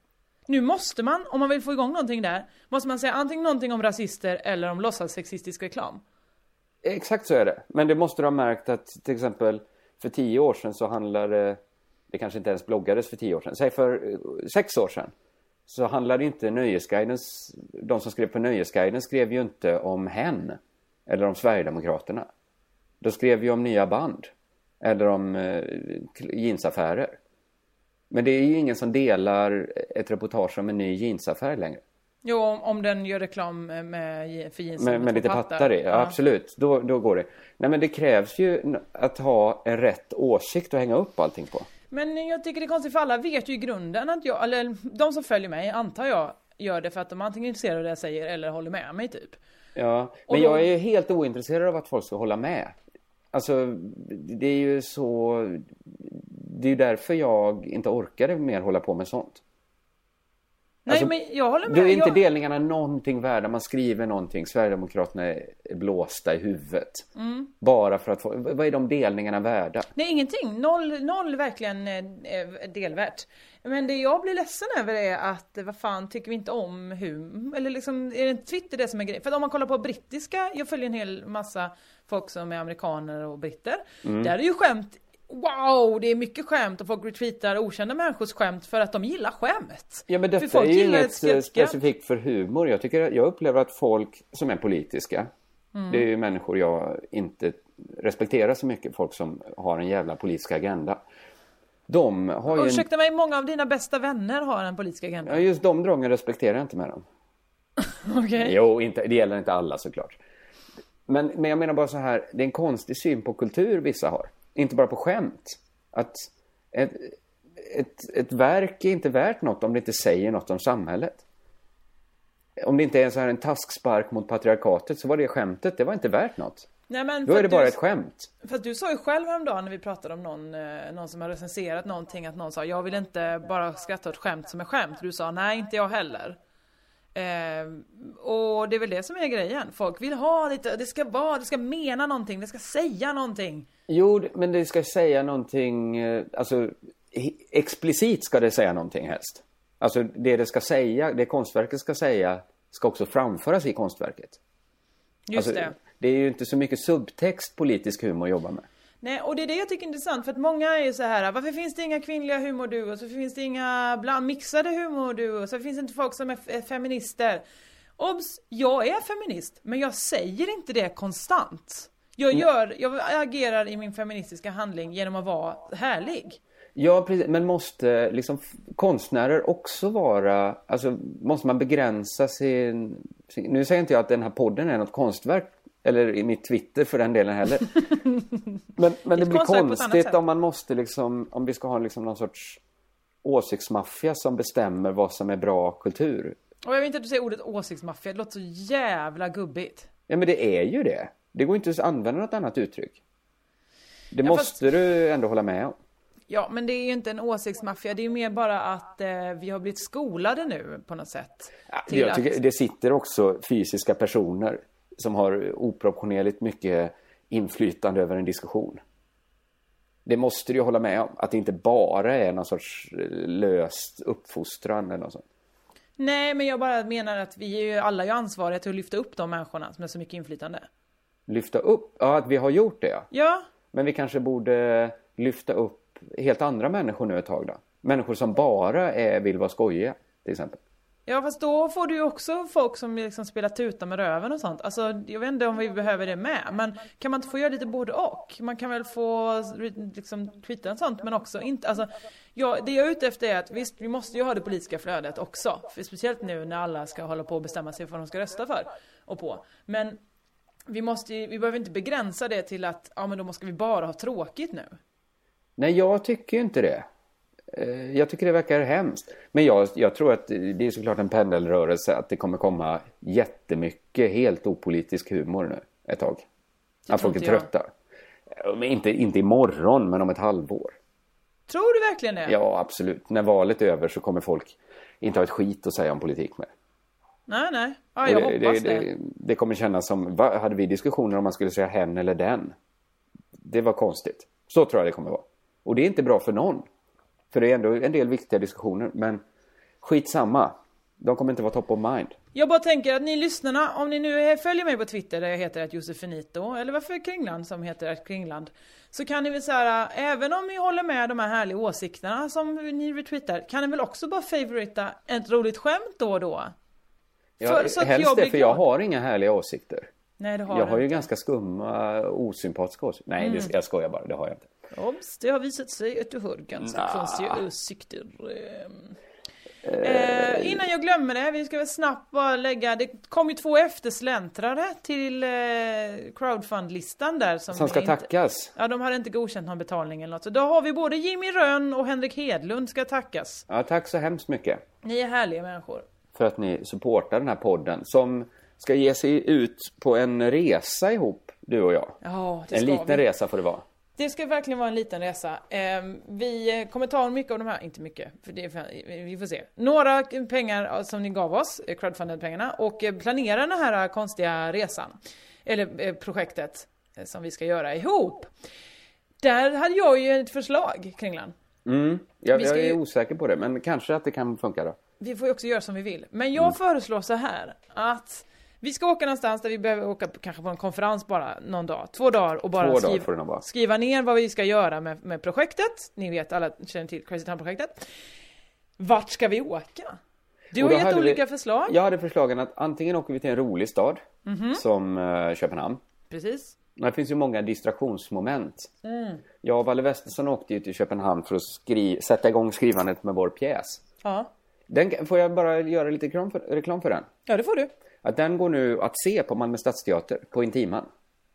Nu måste man, om man vill få igång någonting där, måste man säga antingen någonting om rasister eller om låtsassexistisk reklam. Exakt så är det. Men det måste du ha märkt att till exempel för tio år sedan så handlade, det kanske inte ens bloggades för tio år sedan, säg för eh, sex år sedan, så handlade inte Nöjesguidens, de som skrev på Nöjesguiden skrev ju inte om hen eller om Sverigedemokraterna. De skrev ju om nya band eller om eh, jeansaffärer. Men det är ju ingen som delar ett reportage om en ny jeansaffär längre. Jo, om, om den gör reklam med, för jeans Med, med lite pattar i, ja, absolut. Då, då går det. Nej men det krävs ju n- att ha en rätt åsikt att hänga upp allting på. Men jag tycker det är konstigt för alla vet ju i grunden att jag, eller de som följer mig antar jag gör det för att de antingen är intresserade av det jag säger eller håller med mig typ. Ja, Och men då- jag är helt ointresserad av att folk ska hålla med. Alltså, det är ju så... Det är ju därför jag inte orkade mer hålla på med sånt. Nej Alltså, men jag håller med. Då är inte jag... delningarna någonting värda. Man skriver någonting, Sverigedemokraterna är blåsta i huvudet. Mm. Bara för att få... Vad är de delningarna värda? Nej ingenting, noll, noll verkligen eh, eh, delvärt. Men det jag blir ledsen över är att eh, vad fan tycker vi inte om hur, eller liksom är det inte Twitter det som är grejen? För att om man kollar på brittiska, jag följer en hel massa folk som är amerikaner och britter. Mm. Där är ju skämt, wow det är mycket skämt och folk retweetar okända människors skämt för att de gillar skämt. Ja, men För detta är folk ju gillar ett inget eh, skratt. specifikt för humor. Jag, tycker, jag upplever att folk som är politiska, Mm. det är ju människor jag inte respekterar så mycket, folk som har en jävla politisk agenda. De har ju... En, Ursäkta mig, många av dina bästa vänner har en politisk agenda. ja, just de dragen respekterar jag inte med dem. Okej. Jo, inte, det gäller inte alla såklart. Men, men jag menar bara så här, det är en konstig syn på kultur vissa har. Inte bara på skämt. Att ett, ett, ett verk är inte värt något om det inte säger något om samhället. Om det inte är så här en taskspark mot patriarkatet så var det skämtet, det var inte värt något. Nej, men Då för är det att bara du- ett skämt. Fast du sa ju själv häromdagen när vi pratade om någon, eh, någon som har recenserat någonting att någon sa jag vill inte bara skratta åt skämt som är skämt. Du sa nej inte jag heller. Eh, och det är väl det som är grejen. Folk vill ha lite, det ska vara, det ska mena någonting, det ska säga någonting. Jo, men det ska säga någonting, eh, alltså he- explicit ska det säga någonting helst. Alltså det det ska säga, det konstverket ska säga ska också framföras i konstverket. Just Alltså, det. det är ju inte så mycket subtext politisk humor jobbar med. Nej, och det är det jag tycker är intressant för att många är ju så här. varför finns det inga kvinnliga humorduos? Varför finns det inga bland mixade humorduos? Varför finns det inte folk som är f- är feminister? Obs! Jag är feminist, men jag säger inte det konstant. Jag Mm. gör, jag agerar i min feministiska handling genom att vara härlig. Ja, precis. Men måste liksom, f- konstnärer också vara... Alltså, måste man begränsa sin, sin... Nu säger inte jag att den här podden är något konstverk, eller i mitt Twitter för den delen heller. men men det Ett blir konstverk på ett annat konstigt sätt. om man måste liksom... Om vi ska ha liksom någon sorts åsiktsmaffia som bestämmer vad som är bra kultur. Och jag vill inte att du säger ordet åsiktsmaffia, det låter så jävla gubbigt. Ja, men det är ju det. Det går inte att använda något annat uttryck. Det Ja, måste du ändå hålla med om. Ja, men det är ju inte en åsiktsmaffia, det är ju mer bara att eh, vi har blivit skolade nu på något sätt. till Jag att- tycker det sitter också fysiska personer som har oproportionerligt mycket inflytande över en diskussion. Det måste du ju hålla med om, att det inte bara är någon sorts eh, löst uppfostran eller något sånt. Nej, men jag bara menar att vi är ju alla är ju ansvariga till att lyfta upp de människorna som har så mycket inflytande. Lyfta upp, ja att vi har gjort det ja. Ja, Men vi kanske borde lyfta upp helt andra människor nu ett tag då. Människor som bara är, vill vara skojiga till exempel. ja fast då får du ju också folk som liksom spelar tuta med röven och sånt. Alltså, jag vet inte om vi behöver det med, men kan man inte få göra lite både och? Man kan väl få liksom tweeta och sånt, men också inte. Alltså, ja, det jag är ute efter är att visst, vi måste ju ha det politiska flödet också. För speciellt nu när alla ska hålla på och bestämma sig för vad de ska rösta för och på. Men vi, måste ju, vi behöver inte begränsa det till att ja, men då måste vi bara ha tråkigt nu. Nej, jag tycker ju inte det. Eh, Jag tycker det verkar hemskt. Men jag, jag tror att det är såklart en pendelrörelse att det kommer komma jättemycket helt opolitisk humor nu ett tag. Att folk är inte jag. trötta. Eh, Men inte, inte imorgon, men om ett halvår. Tror du verkligen det? Ja, absolut. När valet är över så kommer folk inte ha ett skit att säga om politik mer. Nej, nej. Ja, jag Och det, hoppas det, det. det. det kommer kännas som, va, hade vi diskussioner om man skulle säga hen eller den? Det var konstigt. Så tror jag det kommer vara. Och det är inte bra för någon. För det är ändå en del viktiga diskussioner, men skitsamma. De kommer inte vara top of mind. Jag bara tänker att ni lyssnarna, om ni nu följer mig på Twitter där jag heter att Josefinito, eller varför Kringland som heter att Kringland, så kan ni väl så här, även om ni håller med de här härliga åsikterna som ni retweetar, kan ni väl också bara favorita ett roligt skämt då och då? Jag, För- så att helst jag blir det, för jag glad. har inga härliga åsikter. Nej, det har jag du har ju inte. ganska skumma, osympatiska åsikter. Nej, Mm. det, jag skojar bara. Det har jag inte. Obs, det har visat sig att du har ganska Nja. konstiga åsikter. ehm. Eh, innan jag glömmer det, vi ska väl snabbt bara lägga, det kom ju två eftersläntrare till eh, crowdfund-listan där som, Som ska inte- tackas. Ja, de hade inte godkänt någon betalning eller något. Så då har vi både Jimmy Rönn och Henrik Hedlund ska tackas. Ja, tack så hemskt mycket. Ni är härliga människor. för att ni supportar den här podden som ska ge sig ut på en resa ihop, du och jag. Ja, det en ska liten vi. resa får det vara. Det ska verkligen vara en liten resa. Eh, vi eh, kommer ta mycket av de här, inte mycket, för det är, fan- vi får se. Några pengar eh, som ni gav oss, eh, crowdfunded-pengarna, och eh, planera den här konstiga resan. Eller eh, projektet eh, som vi ska göra ihop. Där hade jag ju ett förslag, Kringlan. Mm. Jag, Vi ska jag är ju- osäker på det, men kanske att det kan funka då. Vi får ju också göra som vi vill. Men Mm. jag föreslår så här att vi ska åka någonstans där vi behöver åka på, kanske på en konferens bara någon dag, två dagar och bara Två dagar skriva, får det nog vara. skriva ner vad vi ska göra med, med projektet. Ni vet alla känner till Crazy Town-projektet. Vart ska vi åka? Du Och har då gett hade vi- olika förslag. Jag hade förslagen att antingen åker vi till en rolig stad, Mhm. som eh, Köpenhamn. Precis. Det finns ju många distraktionsmoment. Mm. Jag och Valle Westesson åkte ju till Köpenhamn för att skri- sätta igång skrivandet med vår pjäs. Ja. Den, får jag bara göra lite reklam för, reklam för den? ja, det får du. Att den går nu att se på Malmö Stadsteater, på Intiman.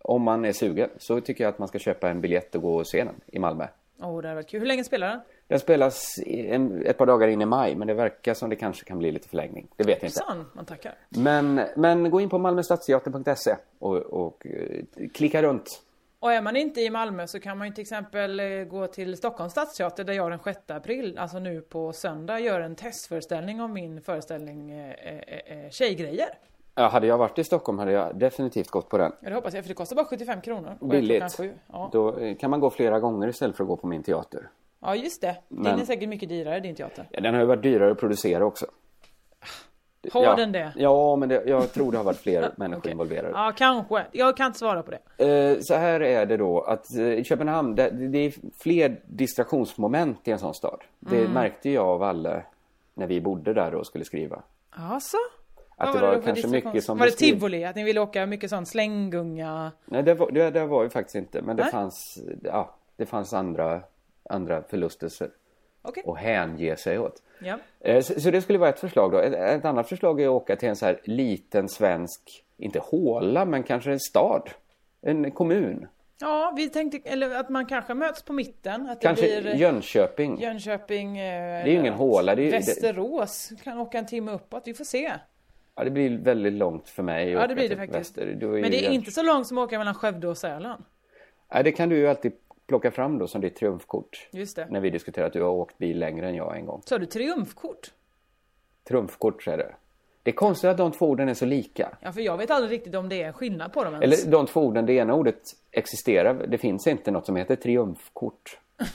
Om man är sugen så tycker jag att man ska köpa en biljett och gå och se den i Malmö. Åh, det hade varit kul. Hur länge spelar den? Den spelas i en, ett par dagar in i maj, men det verkar som det kanske kan bli lite förlängning. Det vet jag inte. Hoppsan, man tackar. Men, men gå in på malmöstadsteatern.se E och, och eh, klicka runt. Och är man inte i Malmö så kan man ju till exempel eh, gå till Stockholms stadsteater där jag den 6 april, alltså nu på söndag, gör en testföreställning av min föreställning eh, eh, eh, Tjejgrejer. Ja, hade jag varit i Stockholm hade jag definitivt gått på den. Ja, det hoppas jag, för det kostar bara 75 kronor. Och är klockan Billigt. sju. Ja. Då eh, kan man gå flera gånger istället för att gå på min teater. ja, just det. Den Men- är säkert mycket dyrare, din teater. Ja, den har ju varit dyrare att producera också. Har ja. den det? Ja, men det, jag tror det har varit fler människor involverade. Ja, kanske. Jag kan inte svara på det. Eh, Så här är det då att eh, i Köpenhamn, det, det är fler distraktionsmoment i en sån stad. Det Mm. märkte jag och Valle när vi bodde där och skulle skriva. Alltså? Att Vad det då var för kanske distraktions- mycket som Var det beskriv- tivoli? Att ni ville åka mycket sån slänggunga? Nej, det var, det, det var ju faktiskt inte, men det Nej. fanns, ja, det fanns andra, andra förlustelser Okej. att hänge sig åt. Ja. Eh, Så, så det skulle vara ett förslag då. Ett, ett annat förslag är att åka till en så här liten svensk, inte håla, men kanske en stad, en kommun. Ja, vi tänkte, eller att man kanske möts på mitten. Att det Kanske blir... Jönköping. Jönköping, eh, Det är ju ingen håla, det är ju- Västerås, kan åka en timme uppåt, vi får se. Ja, det blir väldigt långt för mig att Ja, det åka blir det till faktiskt. väster. Då Men ju det är Jön- inte så långt som att åka mellan Skövde och Sälen. Ja, det kan du ju alltid plocka fram då som ditt triumfkort. Just det. När vi diskuterar att du har åkt bil längre än jag en gång. Sa du triumfkort? Trumfkort säger du. Det är konstigt att de två orden är så lika. Ja, för jag vet aldrig riktigt om det är skillnad på dem ens. Eller de två orden, det ena ordet existerar, det finns inte något som heter triumfkort.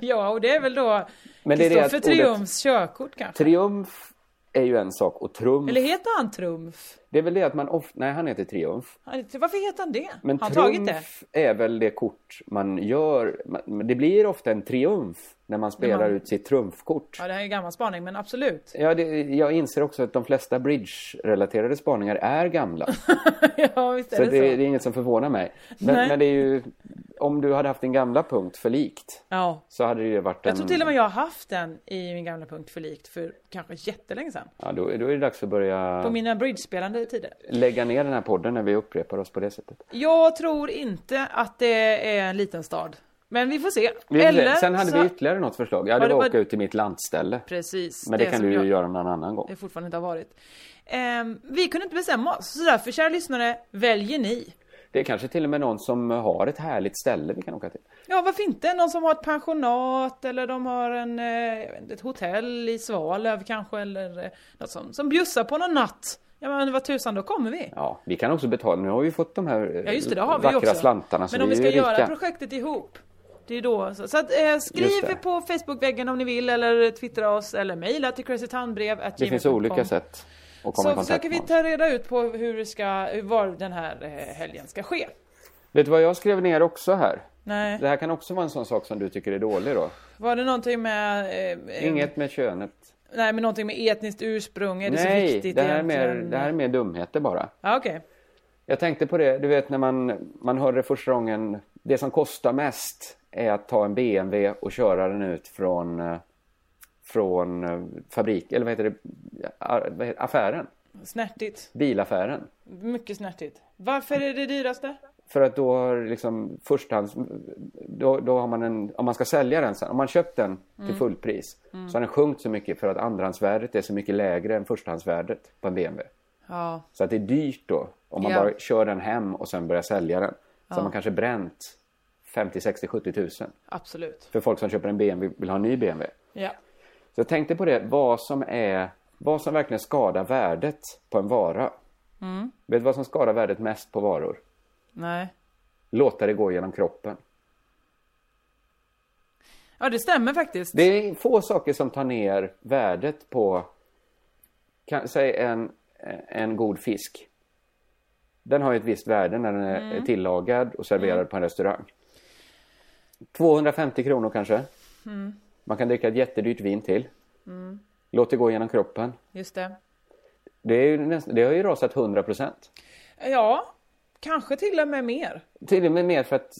ja, och det är väl då Men det är det Kristoffer att ordet- Triumfs körkort kanske? Triumf är ju en sak och trumf, Eller heter han Trumf? det är väl det att man ofta, nej han heter triumf. Han heter- Varför heter han det? Men har han tagit det? trumf är väl det kort man gör, man- det blir ofta en triumf när man spelar man- ut sitt trumfkort. Ja, det här är gammal spaning, men absolut. Ja, det, jag inser också att de flesta bridge-relaterade spaningar är gamla. ja, visst är så det, det, det så. är inget som förvånar mig. Nej. Men, men det är ju, om du hade haft din gamla punkt för likt Ja. så hade det ju varit en... Jag tror till och med jag har haft den i min gamla punkt för likt för kanske jättelänge sedan. Ja, då, då är det dags att börja På mina bridge-spelande tider. lägga ner den här podden när vi upprepar oss på det sättet. Jag tror inte att det är en liten stad. Men vi får se. Vi får se. Eller Sen hade så... vi ytterligare något förslag. Ja, Ja, det det var var- att åka ut till mitt lantställe. Precis. Men det, kan som du ju jag- göra någon annan gång. Det fortfarande inte har varit. Ehm, vi kunde inte bestämma oss, så därför kära lyssnare, väljer ni. Det är kanske till och med någon som har ett härligt ställe vi kan åka till. Ja, varför inte? Någon som har ett pensionat eller de har en, eh, jag vet inte, ett hotell i Svalöv kanske eller eh, något sånt. Som bjussar på någon natt. Ja men vad tusan, då kommer vi. Ja, vi kan också betala. Nu har vi fått de här eh, Ja just det, det har vi ju vackra också. slantarna så Men om vi är ska ju göra rika. projektet ihop. Det är ju då så. Så att, eh, Just det. skriv på Facebookväggen om ni vill eller twittra oss eller mejla till crazytownbrev Det finns olika sätt att komma i Så kontakt försöker vi med oss. ta reda ut på hur det ska, hur- var den här eh, helgen ska ske. Vet du vad jag skrev ner också här? Nej. Det här kan också vara en sån sak som du tycker är dålig då. Var det någonting med... eh, eh, Inget med könet. Nej, men någonting med etniskt ursprung. Är det så Nej, viktigt det här, är mer, egentligen? det här är mer dumheter bara. Ja, okej. Jag tänkte på det, du vet när man, man hör det första gången, det som kostar mest är att ta en BMW och köra den ut från, eh, från eh, fabrik, eller vad heter det, Ar- vad heter, affären, Snärtigt. bilaffären. Mycket snärtigt. Varför är det det dyraste? För att då har liksom förstahands, då, då har man en, om man ska sälja den sen, om man köpt den till Mm. fullpris Mm. så har den sjunkit så mycket för att andrahandsvärdet är så mycket lägre än förstahandsvärdet på en BMW. Ja. Så att det är dyrt då om man Ja. bara kör den hem och sen börjar sälja den. Så Ja. har man kanske bränt 50, 60, 70 tusen. Absolut. För folk som köper en BMW vill ha en ny BMW. Ja. Så jag tänkte på det, vad som är, vad som verkligen skadar värdet på en vara. Mm. Vet du vad som skadar värdet mest på varor? Nej. Låta det gå genom kroppen. Ja, det stämmer faktiskt. Det är få saker som tar ner värdet på, kan, säg en, en god fisk. Den har ju ett visst värde när den är Mm. tillagad och serverad på en restaurang. 250 kronor kanske. Mm. Man kan dricka ett jättedyrt vin till. Mm. Låt det gå genom kroppen. Just det. Det, är ju nästan, det har ju rasat 100 procent. Ja, kanske till och med mer. Till och med mer för att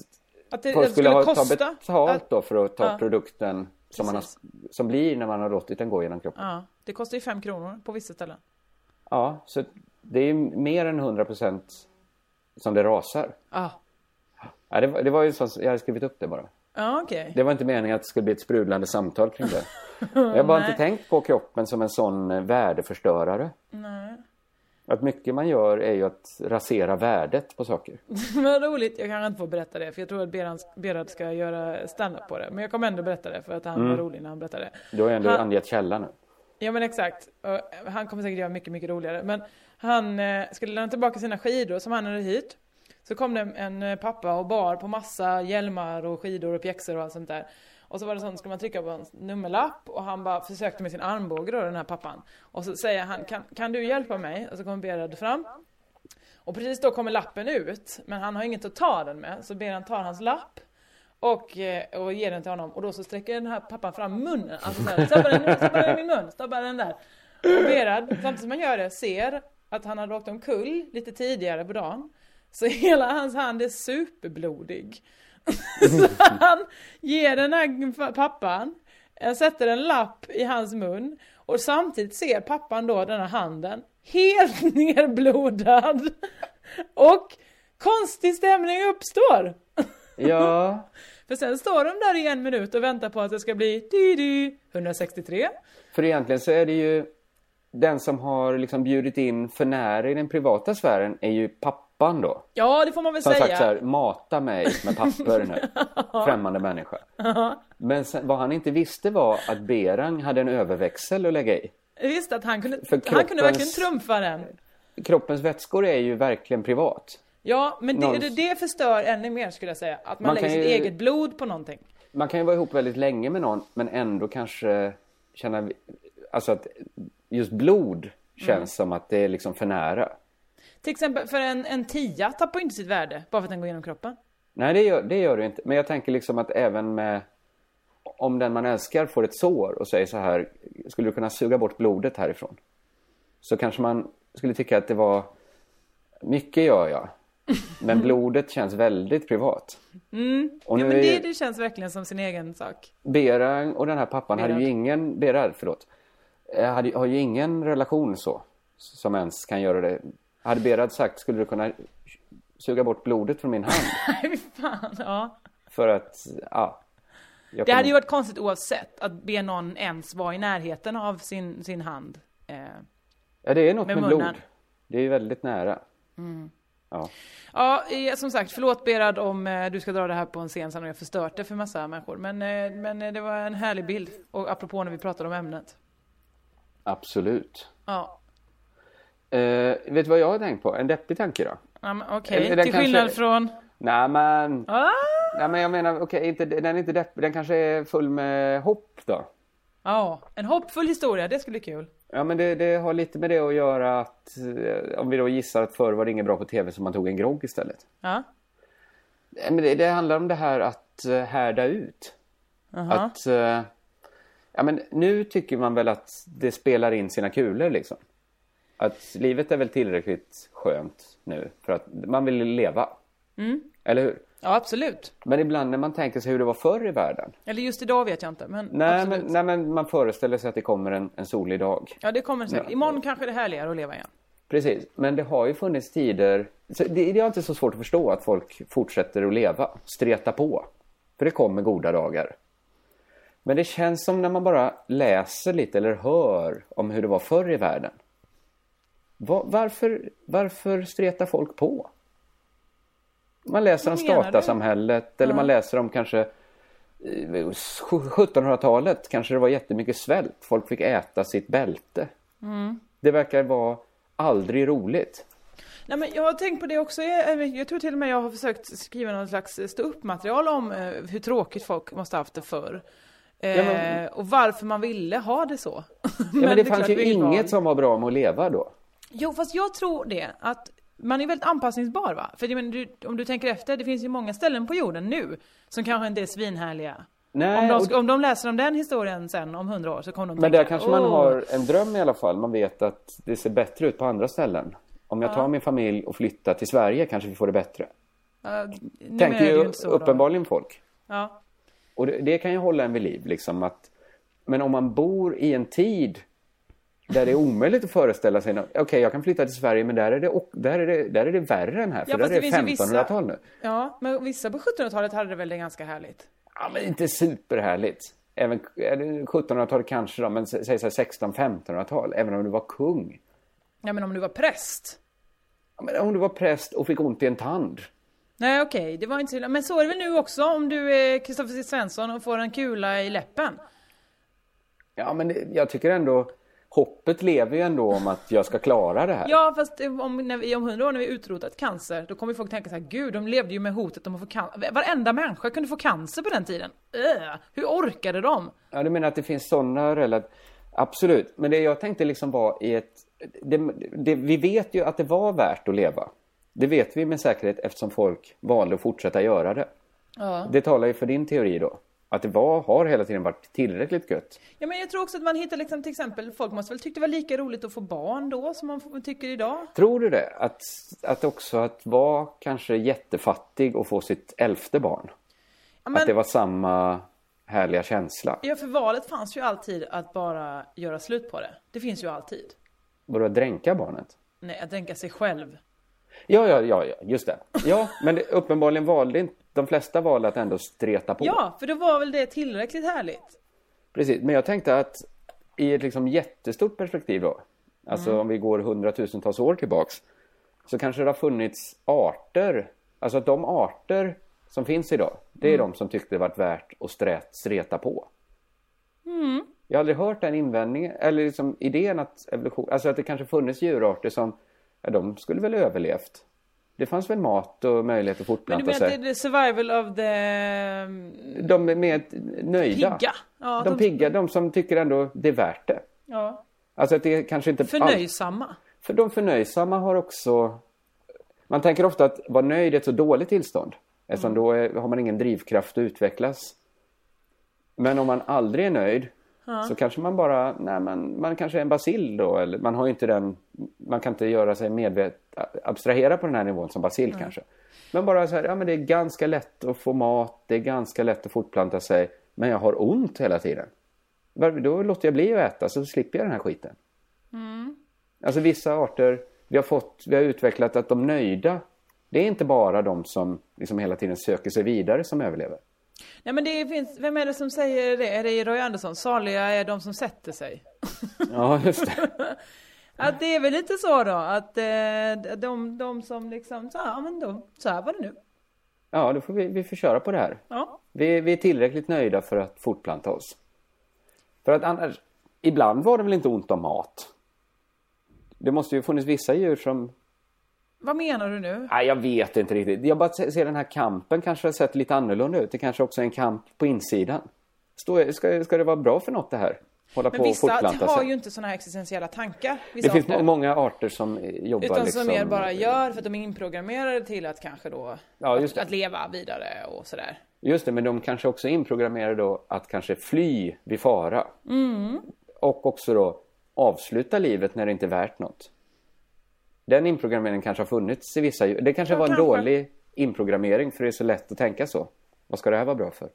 Att det, folk det skulle, ha ta kosta. betalt då för att ta Ja. produkten som, man har, som blir när man har låtit den gå genom kroppen. Ja, det kostar ju fem kronor på vissa ställen. Ja, så det är ju mer än 100 procent som det rasar. Ja, Ja, det, var, det var ju sånt, jag hade skrivit upp det bara. ja okej. Det var inte meningen att det skulle bli ett sprudlande samtal kring det. Jag har bara Nej. inte tänkt på kroppen som en sån eh, värdeförstörare. Nej. Att mycket man gör är ju att rasera värdet på saker. Vad roligt, jag kanske inte får berätta det för jag tror att Beran- Berad ska göra stand-up på det. Men jag kommer ändå berätta det för att han Mm. var rolig när han berättade det. Du har ju ändå Han- angett källan nu. Ja men exakt. Och eh, Han kommer säkert göra mycket, mycket roligare. Men han eh, skulle lämna tillbaka sina skidor som han hade hyrt. Så kom det en eh, pappa och bar på massa hjälmar och skidor och pjäxor och allt sånt där. Och så var det sånt, skulle man trycka på en nummerlapp och han bara försökte med sin armbåge då, den här pappan. Och så säger han, kan, kan du hjälpa mig? Och så kommer Berad fram. Och precis då kommer lappen ut, men han har inget att ta den med. Så Berad tar hans lapp och, eh, och ger den till honom. Och då så sträcker den här pappan fram munnen. Alltså så här, stoppa den, nu, stoppa den i min mun, stoppa den där. Och Berad, samtidigt som han gör det, ser att han hade åkt omkull lite tidigare på dagen. Så hela hans hand är superblodig. så han ger den här fa- pappan, eh, sätter en lapp i hans mun och samtidigt ser pappan då den här handen helt nerblodad. Och konstig stämning uppstår. Ja, För sen står de där i en minut och väntar på att det ska bli di, di, 163. för egentligen så är det ju den som har liksom bjudit in förnära i den privata sfären är ju pappan då. Ja, det får man väl Som säga. sagt så här, mata mig med papper nu. Främmande människa. Men sen, vad han inte visste var att Berang hade en överväxel att lägga i. Visst att han kunde, För han kunde verkligen kroppens- trumfa den. Kroppens vätskor är ju verkligen privat. Ja, men det, Någon- det, det förstör ännu mer skulle jag säga. Att man, Man lägger kan sitt ju- eget blod på någonting. Man kan ju vara ihop väldigt länge med någon men ändå kanske känna alltså att just blod känns Mm. som att det är liksom för nära. Till exempel, för en, en tia tappar ju inte sitt värde bara för att den går genom kroppen. Nej, det gör, det gör du inte. Men jag tänker liksom att även med om den man älskar får ett sår och säger så här, skulle du kunna suga bort blodet härifrån? Så kanske man skulle tycka att det var, mycket gör jag, men blodet känns väldigt privat. Mm. Och ja, nu men är det, ju- det känns verkligen som sin egen sak. Berang och den här pappan hade Berang. ju ingen, Berang, förlåt, Eh, hade, har ju ingen relation så, som ens kan göra det. Hade Berang sagt, skulle du kunna suga bort blodet från min hand? Nej, fy fan. Ja. För att, ja. jag Det kommer- hade ju varit konstigt oavsett att be någon ens vara i närheten av sin, sin hand. Eh, Ja, det är något med med, munnen. blod. Det är ju väldigt nära. mm. Ja. Ja, eh, som sagt, förlåt Berad om eh, du ska dra det här på en scen sen och jag förstört det för massa människor. Men, eh, men eh, det var en härlig bild, och apropå när vi pratade om ämnet. Absolut. Ja, Eh, vet du vad jag har tänkt på? En deppig tanke då? ja men okej. Eller Till Eh, den kanske- skillnad från... Nej men, Ah! nej, men jag menar, okej, inte, den är inte deppig, den kanske är full med hopp då? Ja, en hoppfull historia, det skulle bli kul. Ja men det, det har lite med det att göra att, eh, om vi då gissar att förr var det inget bra på tv så man tog en grogg istället. Ja. Nej, Eh, Men det, det handlar om det här att eh, härda ut. Aha. Att, eh, ja, men nu tycker man väl att det spelar in sina kulor liksom. Att livet är väl tillräckligt skönt nu för att man vill leva, Mm. eller hur? Ja, absolut. Men ibland när man tänker sig hur det var förr i världen. Eller just idag vet jag inte, men Nej, men, absolut. nej men man föreställer sig att det kommer en, en solig dag. Ja, det kommer säkert. Nej. Imorgon kanske det är härligare att leva igen. Precis, men det har ju funnits tider. Så det, det är inte så svårt att förstå att folk fortsätter att leva, streta på. För det kommer goda dagar. Men det känns som när man bara läser lite eller hör om hur det var förr i världen. Va- varför, varför stretar folk på? Man läser om Vad menar du? statarsamhället eller Ja. man läser om kanske eh, 1700-talet kanske det var jättemycket svält. Folk fick äta sitt bälte. Mm. Det verkar vara aldrig roligt. Nej, men jag har tänkt på det också. Jag, eh, jag tror till och med jag har försökt skriva någon slags ståuppmaterial om eh, hur tråkigt folk måste ha haft det förr. Eh, Ja, men- Och varför man ville ha det så. Ja, men det, är fanns klart ju vi var- inget som var bra med att leva då. Jo, fast jag tror det att man är väldigt anpassningsbar va? För jag menar, du, om du tänker efter, det finns ju många ställen på jorden nu som kanske inte är svinhärliga. Nej, om, de, och- sk- om de läser om den historien sen om hundra år så kommer de Men där tänka, kanske man "Åh." har en dröm i alla fall. Man vet att det ser bättre ut på andra ställen. Om jag Ja. tar min familj och flyttar till Sverige kanske vi får det bättre. Ja, numera Tänker är det ju inte så bra. uppenbarligen folk. Ja. Och det, det kan ju hålla en vid liv. Liksom, att, men om man bor i en tid där det är omöjligt att föreställa sig något. Okej, jag kan flytta till Sverige men där är det, och- där är det, där är det värre än här. För Ja, där fast är det det finns ju vissa- 1500-tal nu. Ja, men vissa på 1700-talet hade det väl det ganska härligt? Ja, men inte superhärligt. Även eller 1700-tal kanske då, men sä- säg 16-1500-tal, även om du var kung. Ja, men om du var präst? Ja, men om du var präst och fick ont i en tand. Nej, okej, det var inte så illa. Men så är det väl nu också om du är Kristoffer C. Svensson och får en kula i läppen? Ja, men det- jag tycker ändå, hoppet lever ju ändå om att jag ska klara det här. Ja, fast eh, om, när vi, om 100 år när vi utrotat cancer, då kommer folk tänka så här, gud, de levde ju med hotet om att få cancer. Varenda människa kunde få cancer på den tiden. Öh, hur orkade de? Ja, du menar att det finns sådana relativt... Absolut, men det jag tänkte liksom var i ett... Det, det, vi vet ju att det var värt att leva. Det vet vi med säkerhet eftersom folk valde att fortsätta göra det. Ja. Det talar ju för din teori då. Att det var, har hela tiden varit tillräckligt gött. ja, men jag tror också att man hittar liksom, till exempel, folk måste väl tycka det var lika roligt att få barn då som man f- tycker idag? Tror du det? Att, att också att vara kanske jättefattig och få sitt elfte barn. Ja, men- Att det var samma härliga känsla. Ja, för valet fanns ju alltid att bara göra slut på det. Det finns ju alltid. Vadå, dränka barnet? Nej, att dränka sig själv. Ja, ja, ja, ja just det. Ja, men det, uppenbarligen valde inte, de flesta valde att ändå streta på. Ja, för då var väl det tillräckligt härligt? Precis, men jag tänkte att i ett liksom jättestort perspektiv då, alltså Mm. om vi går hundratusentals år tillbaks, så kanske det har funnits arter, alltså att de arter som finns idag, det är de som tyckte det varit värt att strä- streta på. Mm. Jag har aldrig hört den invändningen, eller liksom idén att evolution, alltså att det kanske funnits djurarter som, ja, de skulle väl överlevt. Det fanns väl mat och möjlighet att Men du fortplanta menar att det är sig. the survival of the... mm, De är mer nöjda. Pigga. Ja, de, de- pigga, de som tycker ändå det är värt det. Ja. Alltså att det är kanske inte... allt- Förnöjsamma. För de förnöjsamma har också... Man tänker ofta att vara nöjd är ett så dåligt tillstånd. Eftersom då är, har man ingen drivkraft att utvecklas. Men om man aldrig är nöjd Ja. så kanske man bara, nej men man kanske är en basil då eller man har ju inte den, man kan inte göra sig medvet, abstrahera på den här nivån som basil kanske. Men bara så här, ja men det är ganska lätt att få mat, det är ganska lätt att fortplanta sig, men jag har ont hela tiden. Varför- Då låter jag bli att äta så slipper jag den här skiten. Alltså vissa arter, vi har, fått, vi har utvecklat att de nöjda Det är inte bara de som liksom hela tiden söker sig vidare som överlever. Nej men det finns, vem är det som säger det? Är det Roy Andersson? Saliga är de som sätter sig. Ja, just det. Mm. Att det är väl lite så då, att eh, de, de som liksom, så, ja men då, så här var det nu. Ja, då får vi, vi får köra på det här. Ja. Vi, vi är tillräckligt nöjda för att fortplanta oss. För att annars, ibland var det väl inte ont om mat? Det måste ju funnits vissa djur som... Vad menar du nu? Nej, jag vet inte riktigt. Jag bara se- ser den här kampen kanske har sett lite annorlunda ut. Det kanske också är en kamp på insidan. Stå, ska, ska det vara bra för något det här? Hålla Men på och vissa fortplanta har sig. ju inte sådana här existentiella tankar. Vissa Det finns arter. må- många arter som eh, jobbar Utan liksom... som mer bara gör för att de är inprogrammerade till att kanske då, Ja, just att, det. att leva vidare och sådär. Just det, men de kanske också är inprogrammerade då att kanske fly vid fara. Mm. Och också då avsluta livet när det inte är värt något. Den inprogrammeringen kanske har funnits i vissa djur. Det kanske Ja, var en kanske. dålig inprogrammering för det är så lätt att tänka så. Vad ska det här vara bra för?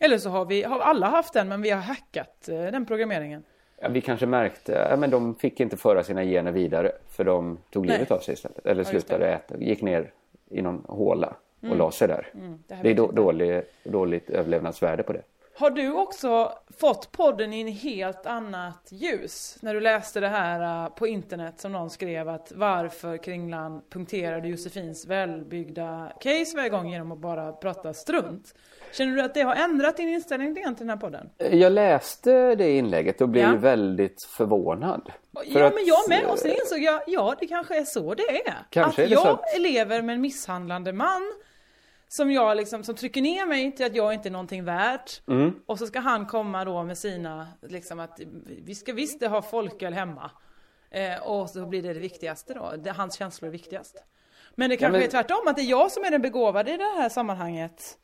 Eller så har vi, har alla haft den men vi har hackat eh, den programmeringen. Ja, vi kanske märkte att men de fick inte föra sina gener vidare för de tog Nej. livet av sig istället. Eller Ja, just slutade äta, gick ner i någon håla och Mm. la sig där. Mm, det det, här är vet jag då, dålig, dåligt överlevnadsvärde på det. Har du också fått podden i en helt annat ljus? När du läste det här eh, på internet som någon skrev att varför Kringlan punkterade Josefins välbyggda case varje gång genom att bara prata strunt. Känner du att det har ändrat din inställning lite grann till den här podden? Jag läste det inlägget och blev Ja. ju väldigt förvånad. För ja att- eh, men jag med och sen insåg jag, ja det kanske är så det är. Kanske att är det jag så att- lever med en misshandlande man som jag liksom, som trycker ner mig till att jag inte är någonting värt. Mm. Och så ska han komma då med sina, liksom att vi ska visst ha folköl hemma. Eh, och så blir det det viktigaste då, det, hans känslor är viktigast. Men det kanske men- är tvärtom, att det är jag som är den begåvade i det här sammanhanget.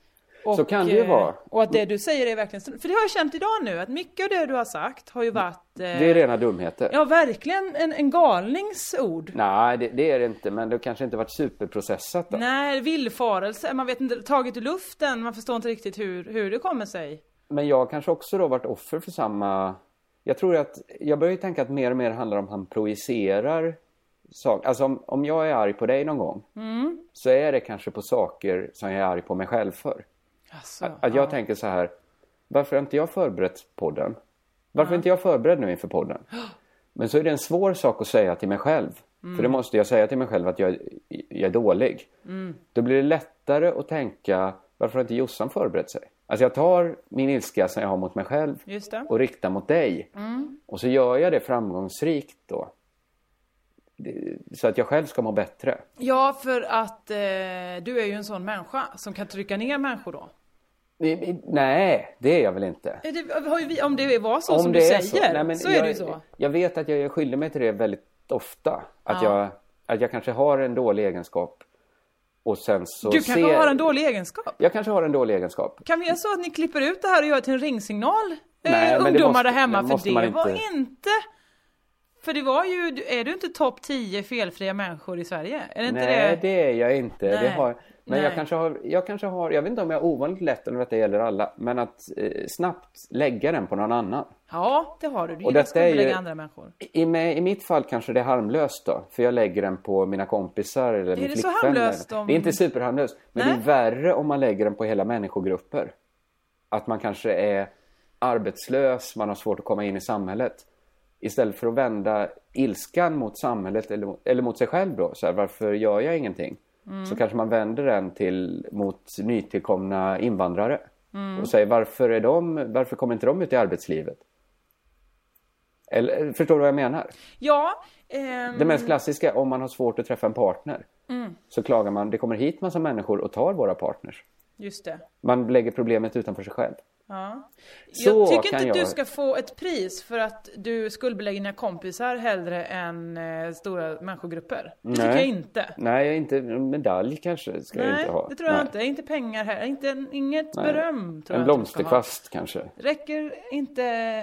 Så kan det ju eh, vara. Och att det du säger är verkligen För det har jag känt idag nu, att mycket av det du har sagt har ju varit... eh, Det är rena dumheter. Ja, verkligen en, en galnings ord. Nej, det, det är det inte, men det kanske inte varit superprocessat då. Nej, villfarelse, man vet inte, taget ur luften, man förstår inte riktigt hur, hur det kommer sig. Men jag kanske också då varit offer för samma... Jag tror att, jag börjar ju tänka att mer och mer handlar om att han projicerar saker. Alltså om, om jag är arg på dig någon gång Mm. så är det kanske på saker som jag är arg på mig själv för. Alltså, Att, att jag tänker så här, varför har inte jag förberett podden? Varför är inte jag förberedd nu inför podden? Men så är det en svår sak att säga till mig själv. Mm. För det måste jag säga till mig själv att jag, jag är dålig. Mm. Då blir det lättare att tänka, varför har inte Jossan förberett sig? Alltså jag tar min ilska som jag har mot mig själv Just det. och riktar mot dig. Mm. Och så gör jag det framgångsrikt då. Det- Så att jag själv ska må bättre. Ja, för att eh, du är ju en sån människa som kan trycka ner människor då. I- i- Nej, det är jag väl inte. Eh, Det, har ju vi, om det var så som det du är säger, så, nej, men är jag, det ju så. Jag vet att jag jag skyller mig till det väldigt ofta. Att, Ja. jag, att jag kanske har en dålig egenskap och sen så Du ser... kanske har en dålig egenskap. Jag kanske har en dålig egenskap. Kan vi göra så att ni klipper ut det här och gör till en ringsignal? Nej, eh, men det ungdomar måste- där hemma, det för måste det man var inte. inte... För det var ju, du- är du inte topp 10 felfria människor i Sverige? Är det inte Nej, det? är jag inte. Det Nej. har... Men Nej. jag kanske, har, jag kanske har, jag vet inte om jag är ovanligt lätt eller om detta gäller alla, men att eh, snabbt lägga den på någon annan. Ja, det har du. Du Och gillar detta är ju- skuldbelägga andra människor. I, mig, I mitt fall kanske det är harmlöst då, för jag lägger den på mina kompisar eller Är min det så flickvän. harmlöst eller- om- Det är inte superharmlöst, men Nej. det är värre om man lägger den på hela människogrupper. Att man kanske är arbetslös, man har svårt att komma in i samhället. Istället för att vända ilskan mot samhället eller, mot- eller mot sig själv då, så här, varför gör jag ingenting? Mm. Så kanske man vänder den till, mot nytillkomna invandrare Mm. och säger varför, är de, varför kommer inte de ut i arbetslivet? Eller, förstår du vad jag menar? Ja. ehm, Det mest klassiska, om man har svårt att träffa en partner Mm, så klagar man, det kommer hit massa människor och tar våra partners. just det. Man lägger problemet utanför sig själv. Ja. Så jag tycker kan inte att du jag- ska få ett pris för att du skuldbelägger dina kompisar hellre än eh, stora människogrupper. Det tycker jag inte. Nej, jag är inte, en medalj kanske ska jag Nej, inte ha. det tror jag Nej. inte. Inte pengar här. Inte, inget Nej. beröm tror En jag att du ska ha. blomsterkvast kanske. Räcker inte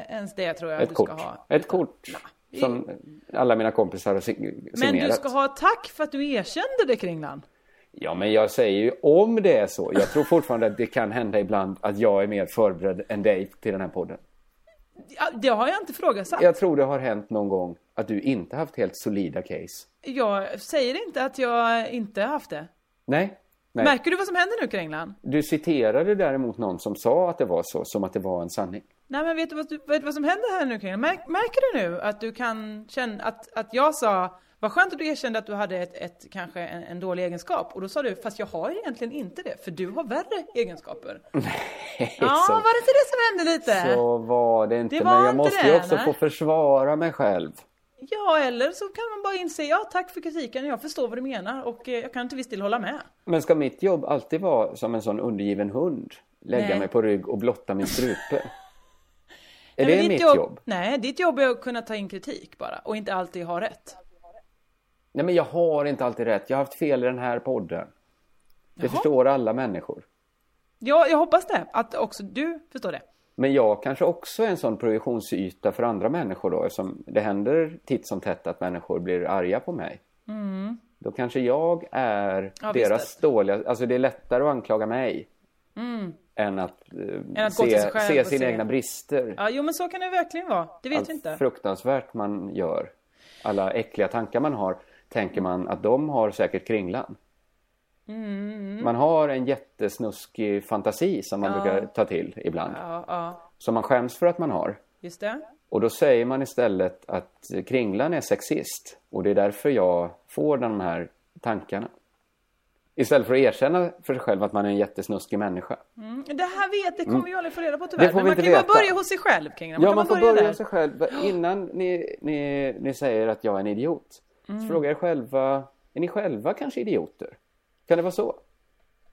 ens det tror jag att Ett du kort. ska ha. Ett kort vi- som alla mina kompisar har sig- Men signerat. du ska ha tack för att du erkände det Kringlan. Ja, men jag säger ju om det är så. Jag tror fortfarande att det kan hända ibland att jag är mer förberedd än dig till den här podden. Ja, Det har jag inte frågat. Jag... Jag tror det har hänt någon gång att du inte haft helt solida case. jag säger inte att jag inte haft det. Nej. nej. Märker du vad som händer nu Kringlan? Du citerade däremot någon som sa att det var så, som att det var en sanning. Nej men vet du vad, du- vet du vad som händer här nu Kringlan? Märk, märker du nu att du kan känna att, att jag sa vad skönt att du erkände att du hade ett, ett, kanske en, en dålig egenskap och då sa du fast jag har egentligen inte det för du har värre egenskaper. Ja, Så- var det inte det som hände lite? Så var det inte. Det var men jag inte måste det, ju också nej. få försvara mig själv. Ja, eller så kan man bara inse, ja tack för kritiken, jag förstår vad du menar och eh, jag kan till viss del hålla med. Men ska mitt jobb alltid vara som en sån undergiven hund? Lägga Nej. mig på rygg och blotta min strupe? är Nej, det men ditt mitt jobb? Nej, ditt jobb är att kunna ta in kritik bara och inte alltid ha rätt. Nej, men jag har inte alltid rätt. Jag har haft fel i den här podden. Det förstår alla människor. Ja, jag hoppas det, att också du förstår det. Men jag kanske också är en sån projektionsyta för andra människor då, eftersom det händer titt som tätt att människor blir arga på mig. Mm. Då kanske jag är Ja, visst deras dåliga... Alltså det är lättare att anklaga mig Mm. än att, eh, Än att gå till sig se, själv se och sina se- egna brister. Ja, jo men så kan det verkligen vara, det vet Allt vi inte. fruktansvärt man gör, alla äckliga tankar man har, tänker man att de har säkert kringlan. Mm. Man har en jättesnuskig fantasi som man Ja. brukar ta till ibland, Ja, ja, som man skäms för att man har. just det. Och då säger man istället att kringlan är sexist och det är därför jag får de här tankarna. Istället för att erkänna för sig själv att man är en jättesnuskig människa. Mm. Det här vet, det kommer Mm. vi aldrig få reda på tyvärr. Det får vi men man inte kan ju bara veta. börja hos sig själv kring det. ja, man kan får bara börja där. hos sig själv. Innan ni, ni, ni säger att jag är en idiot, Mm. så fråga er själva, är ni själva kanske idioter? Kan det vara så?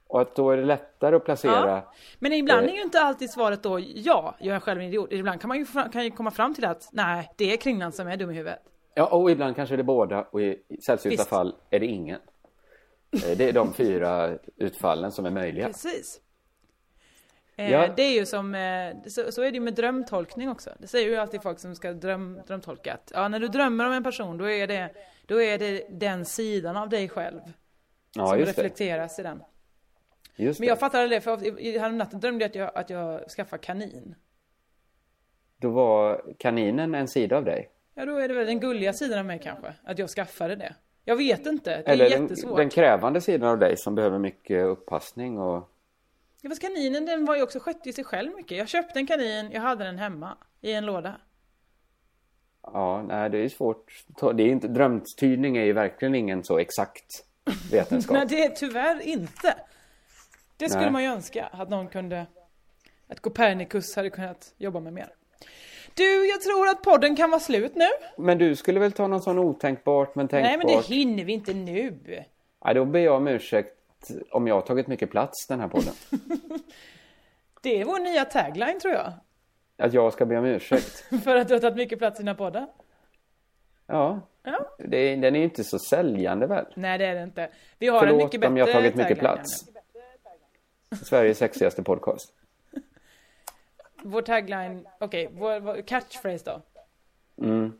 Och att då är det lättare att placera... Men ibland är Eh. ju inte alltid svaret då ja, jag är själv en idiot. Ibland kan man ju, fra- kan ju komma fram till att nej, det är kringlan som är dum i huvudet. Ja, och ibland kanske det är båda och i sällsynta Visst. fall är det ingen. Eh, Det är de fyra utfallen som är möjliga. Precis. Eh, Ja. Det är ju som, eh, så, så är det ju med drömtolkning också. Det säger ju alltid folk som ska dröm, drömtolka att ja, när du drömmer om en person då är, det, då är det den sidan av dig själv Ja, som just det. reflekteras i den. Just Men jag det. fattade det, för ofta- i- i- häromnatten drömde jag att jag, att jag skaffade kanin. Då var kaninen en sida av dig. Ja, då är det väl den gulliga sidan av mig kanske, att jag skaffade det. Jag vet inte, det är Eller den, jättesvårt. den krävande sidan av dig som behöver mycket upppassning och... Ja, fast kaninen den var ju också, skötte ju sig själv mycket. Jag köpte en kanin, jag hade den hemma i en låda. Ja, nej, det är svårt. Det är inte, drömtydning är ju verkligen ingen så exakt vetenskap. Nej, det är tyvärr inte. Det skulle Nej. man ju önska, att någon kunde... Att Copernicus hade kunnat jobba med mer. Du, jag tror att podden kan vara slut nu. Men du skulle väl ta någon sån otänkbart men tänkbart? Nej, men det hinner vi inte nu. Nej, då ber jag om ursäkt om jag har tagit mycket plats den här podden. Det är vår nya tagline, tror jag. Att jag ska be om ursäkt. För att du har tagit mycket plats i dina poddar. Ja, Ja. det, är- den är ju inte så säljande väl? Nej, det är det inte. Vi har en Förlåt mycket bättre om jag har tagit mycket tagline, plats. Sveriges sexigaste podcast. Janne. Vår tagline, okej, vår, vår catchphrase då. Mm.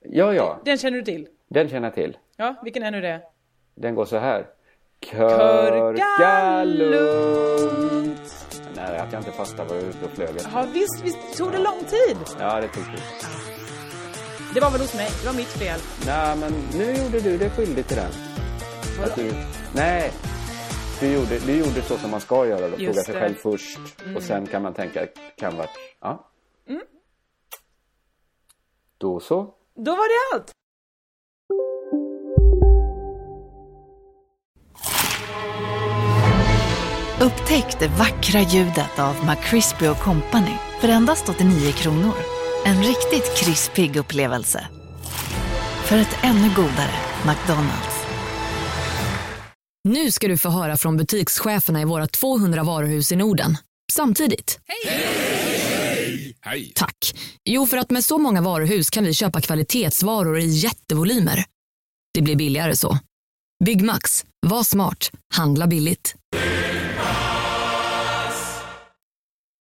Ja, ja, Den känner du till? den känner jag till. Ja, vilken är nu det? Den går så här. Körka lugnt. Nej, att jag inte fastnade var jag ute och flög. Ja, visst, visst tog det lång tid? Ja, det tycker jag. Det var väl hos mig, det var mitt fel. Nej, men nu gjorde du dig skyldig till den. Att du... Nej! Du gjorde, du gjorde så som man ska göra då. Just Fråga sig det. själv först Mm. och sen kan man tänka, kan vara... Ja. Mm. Då så. Då var det allt! Upptäck det vackra ljudet av McCrispy Company för endast 89 kronor. En riktigt krispig upplevelse. För ett ännu godare McDonalds. Nu ska du få höra från butikscheferna i våra 200 varuhus i Norden. Samtidigt. Hej! Tack. Jo, för att med så många varuhus kan vi köpa kvalitetsvaror i jättevolymer. Det blir billigare så. Byggmax. Var smart. Handla billigt.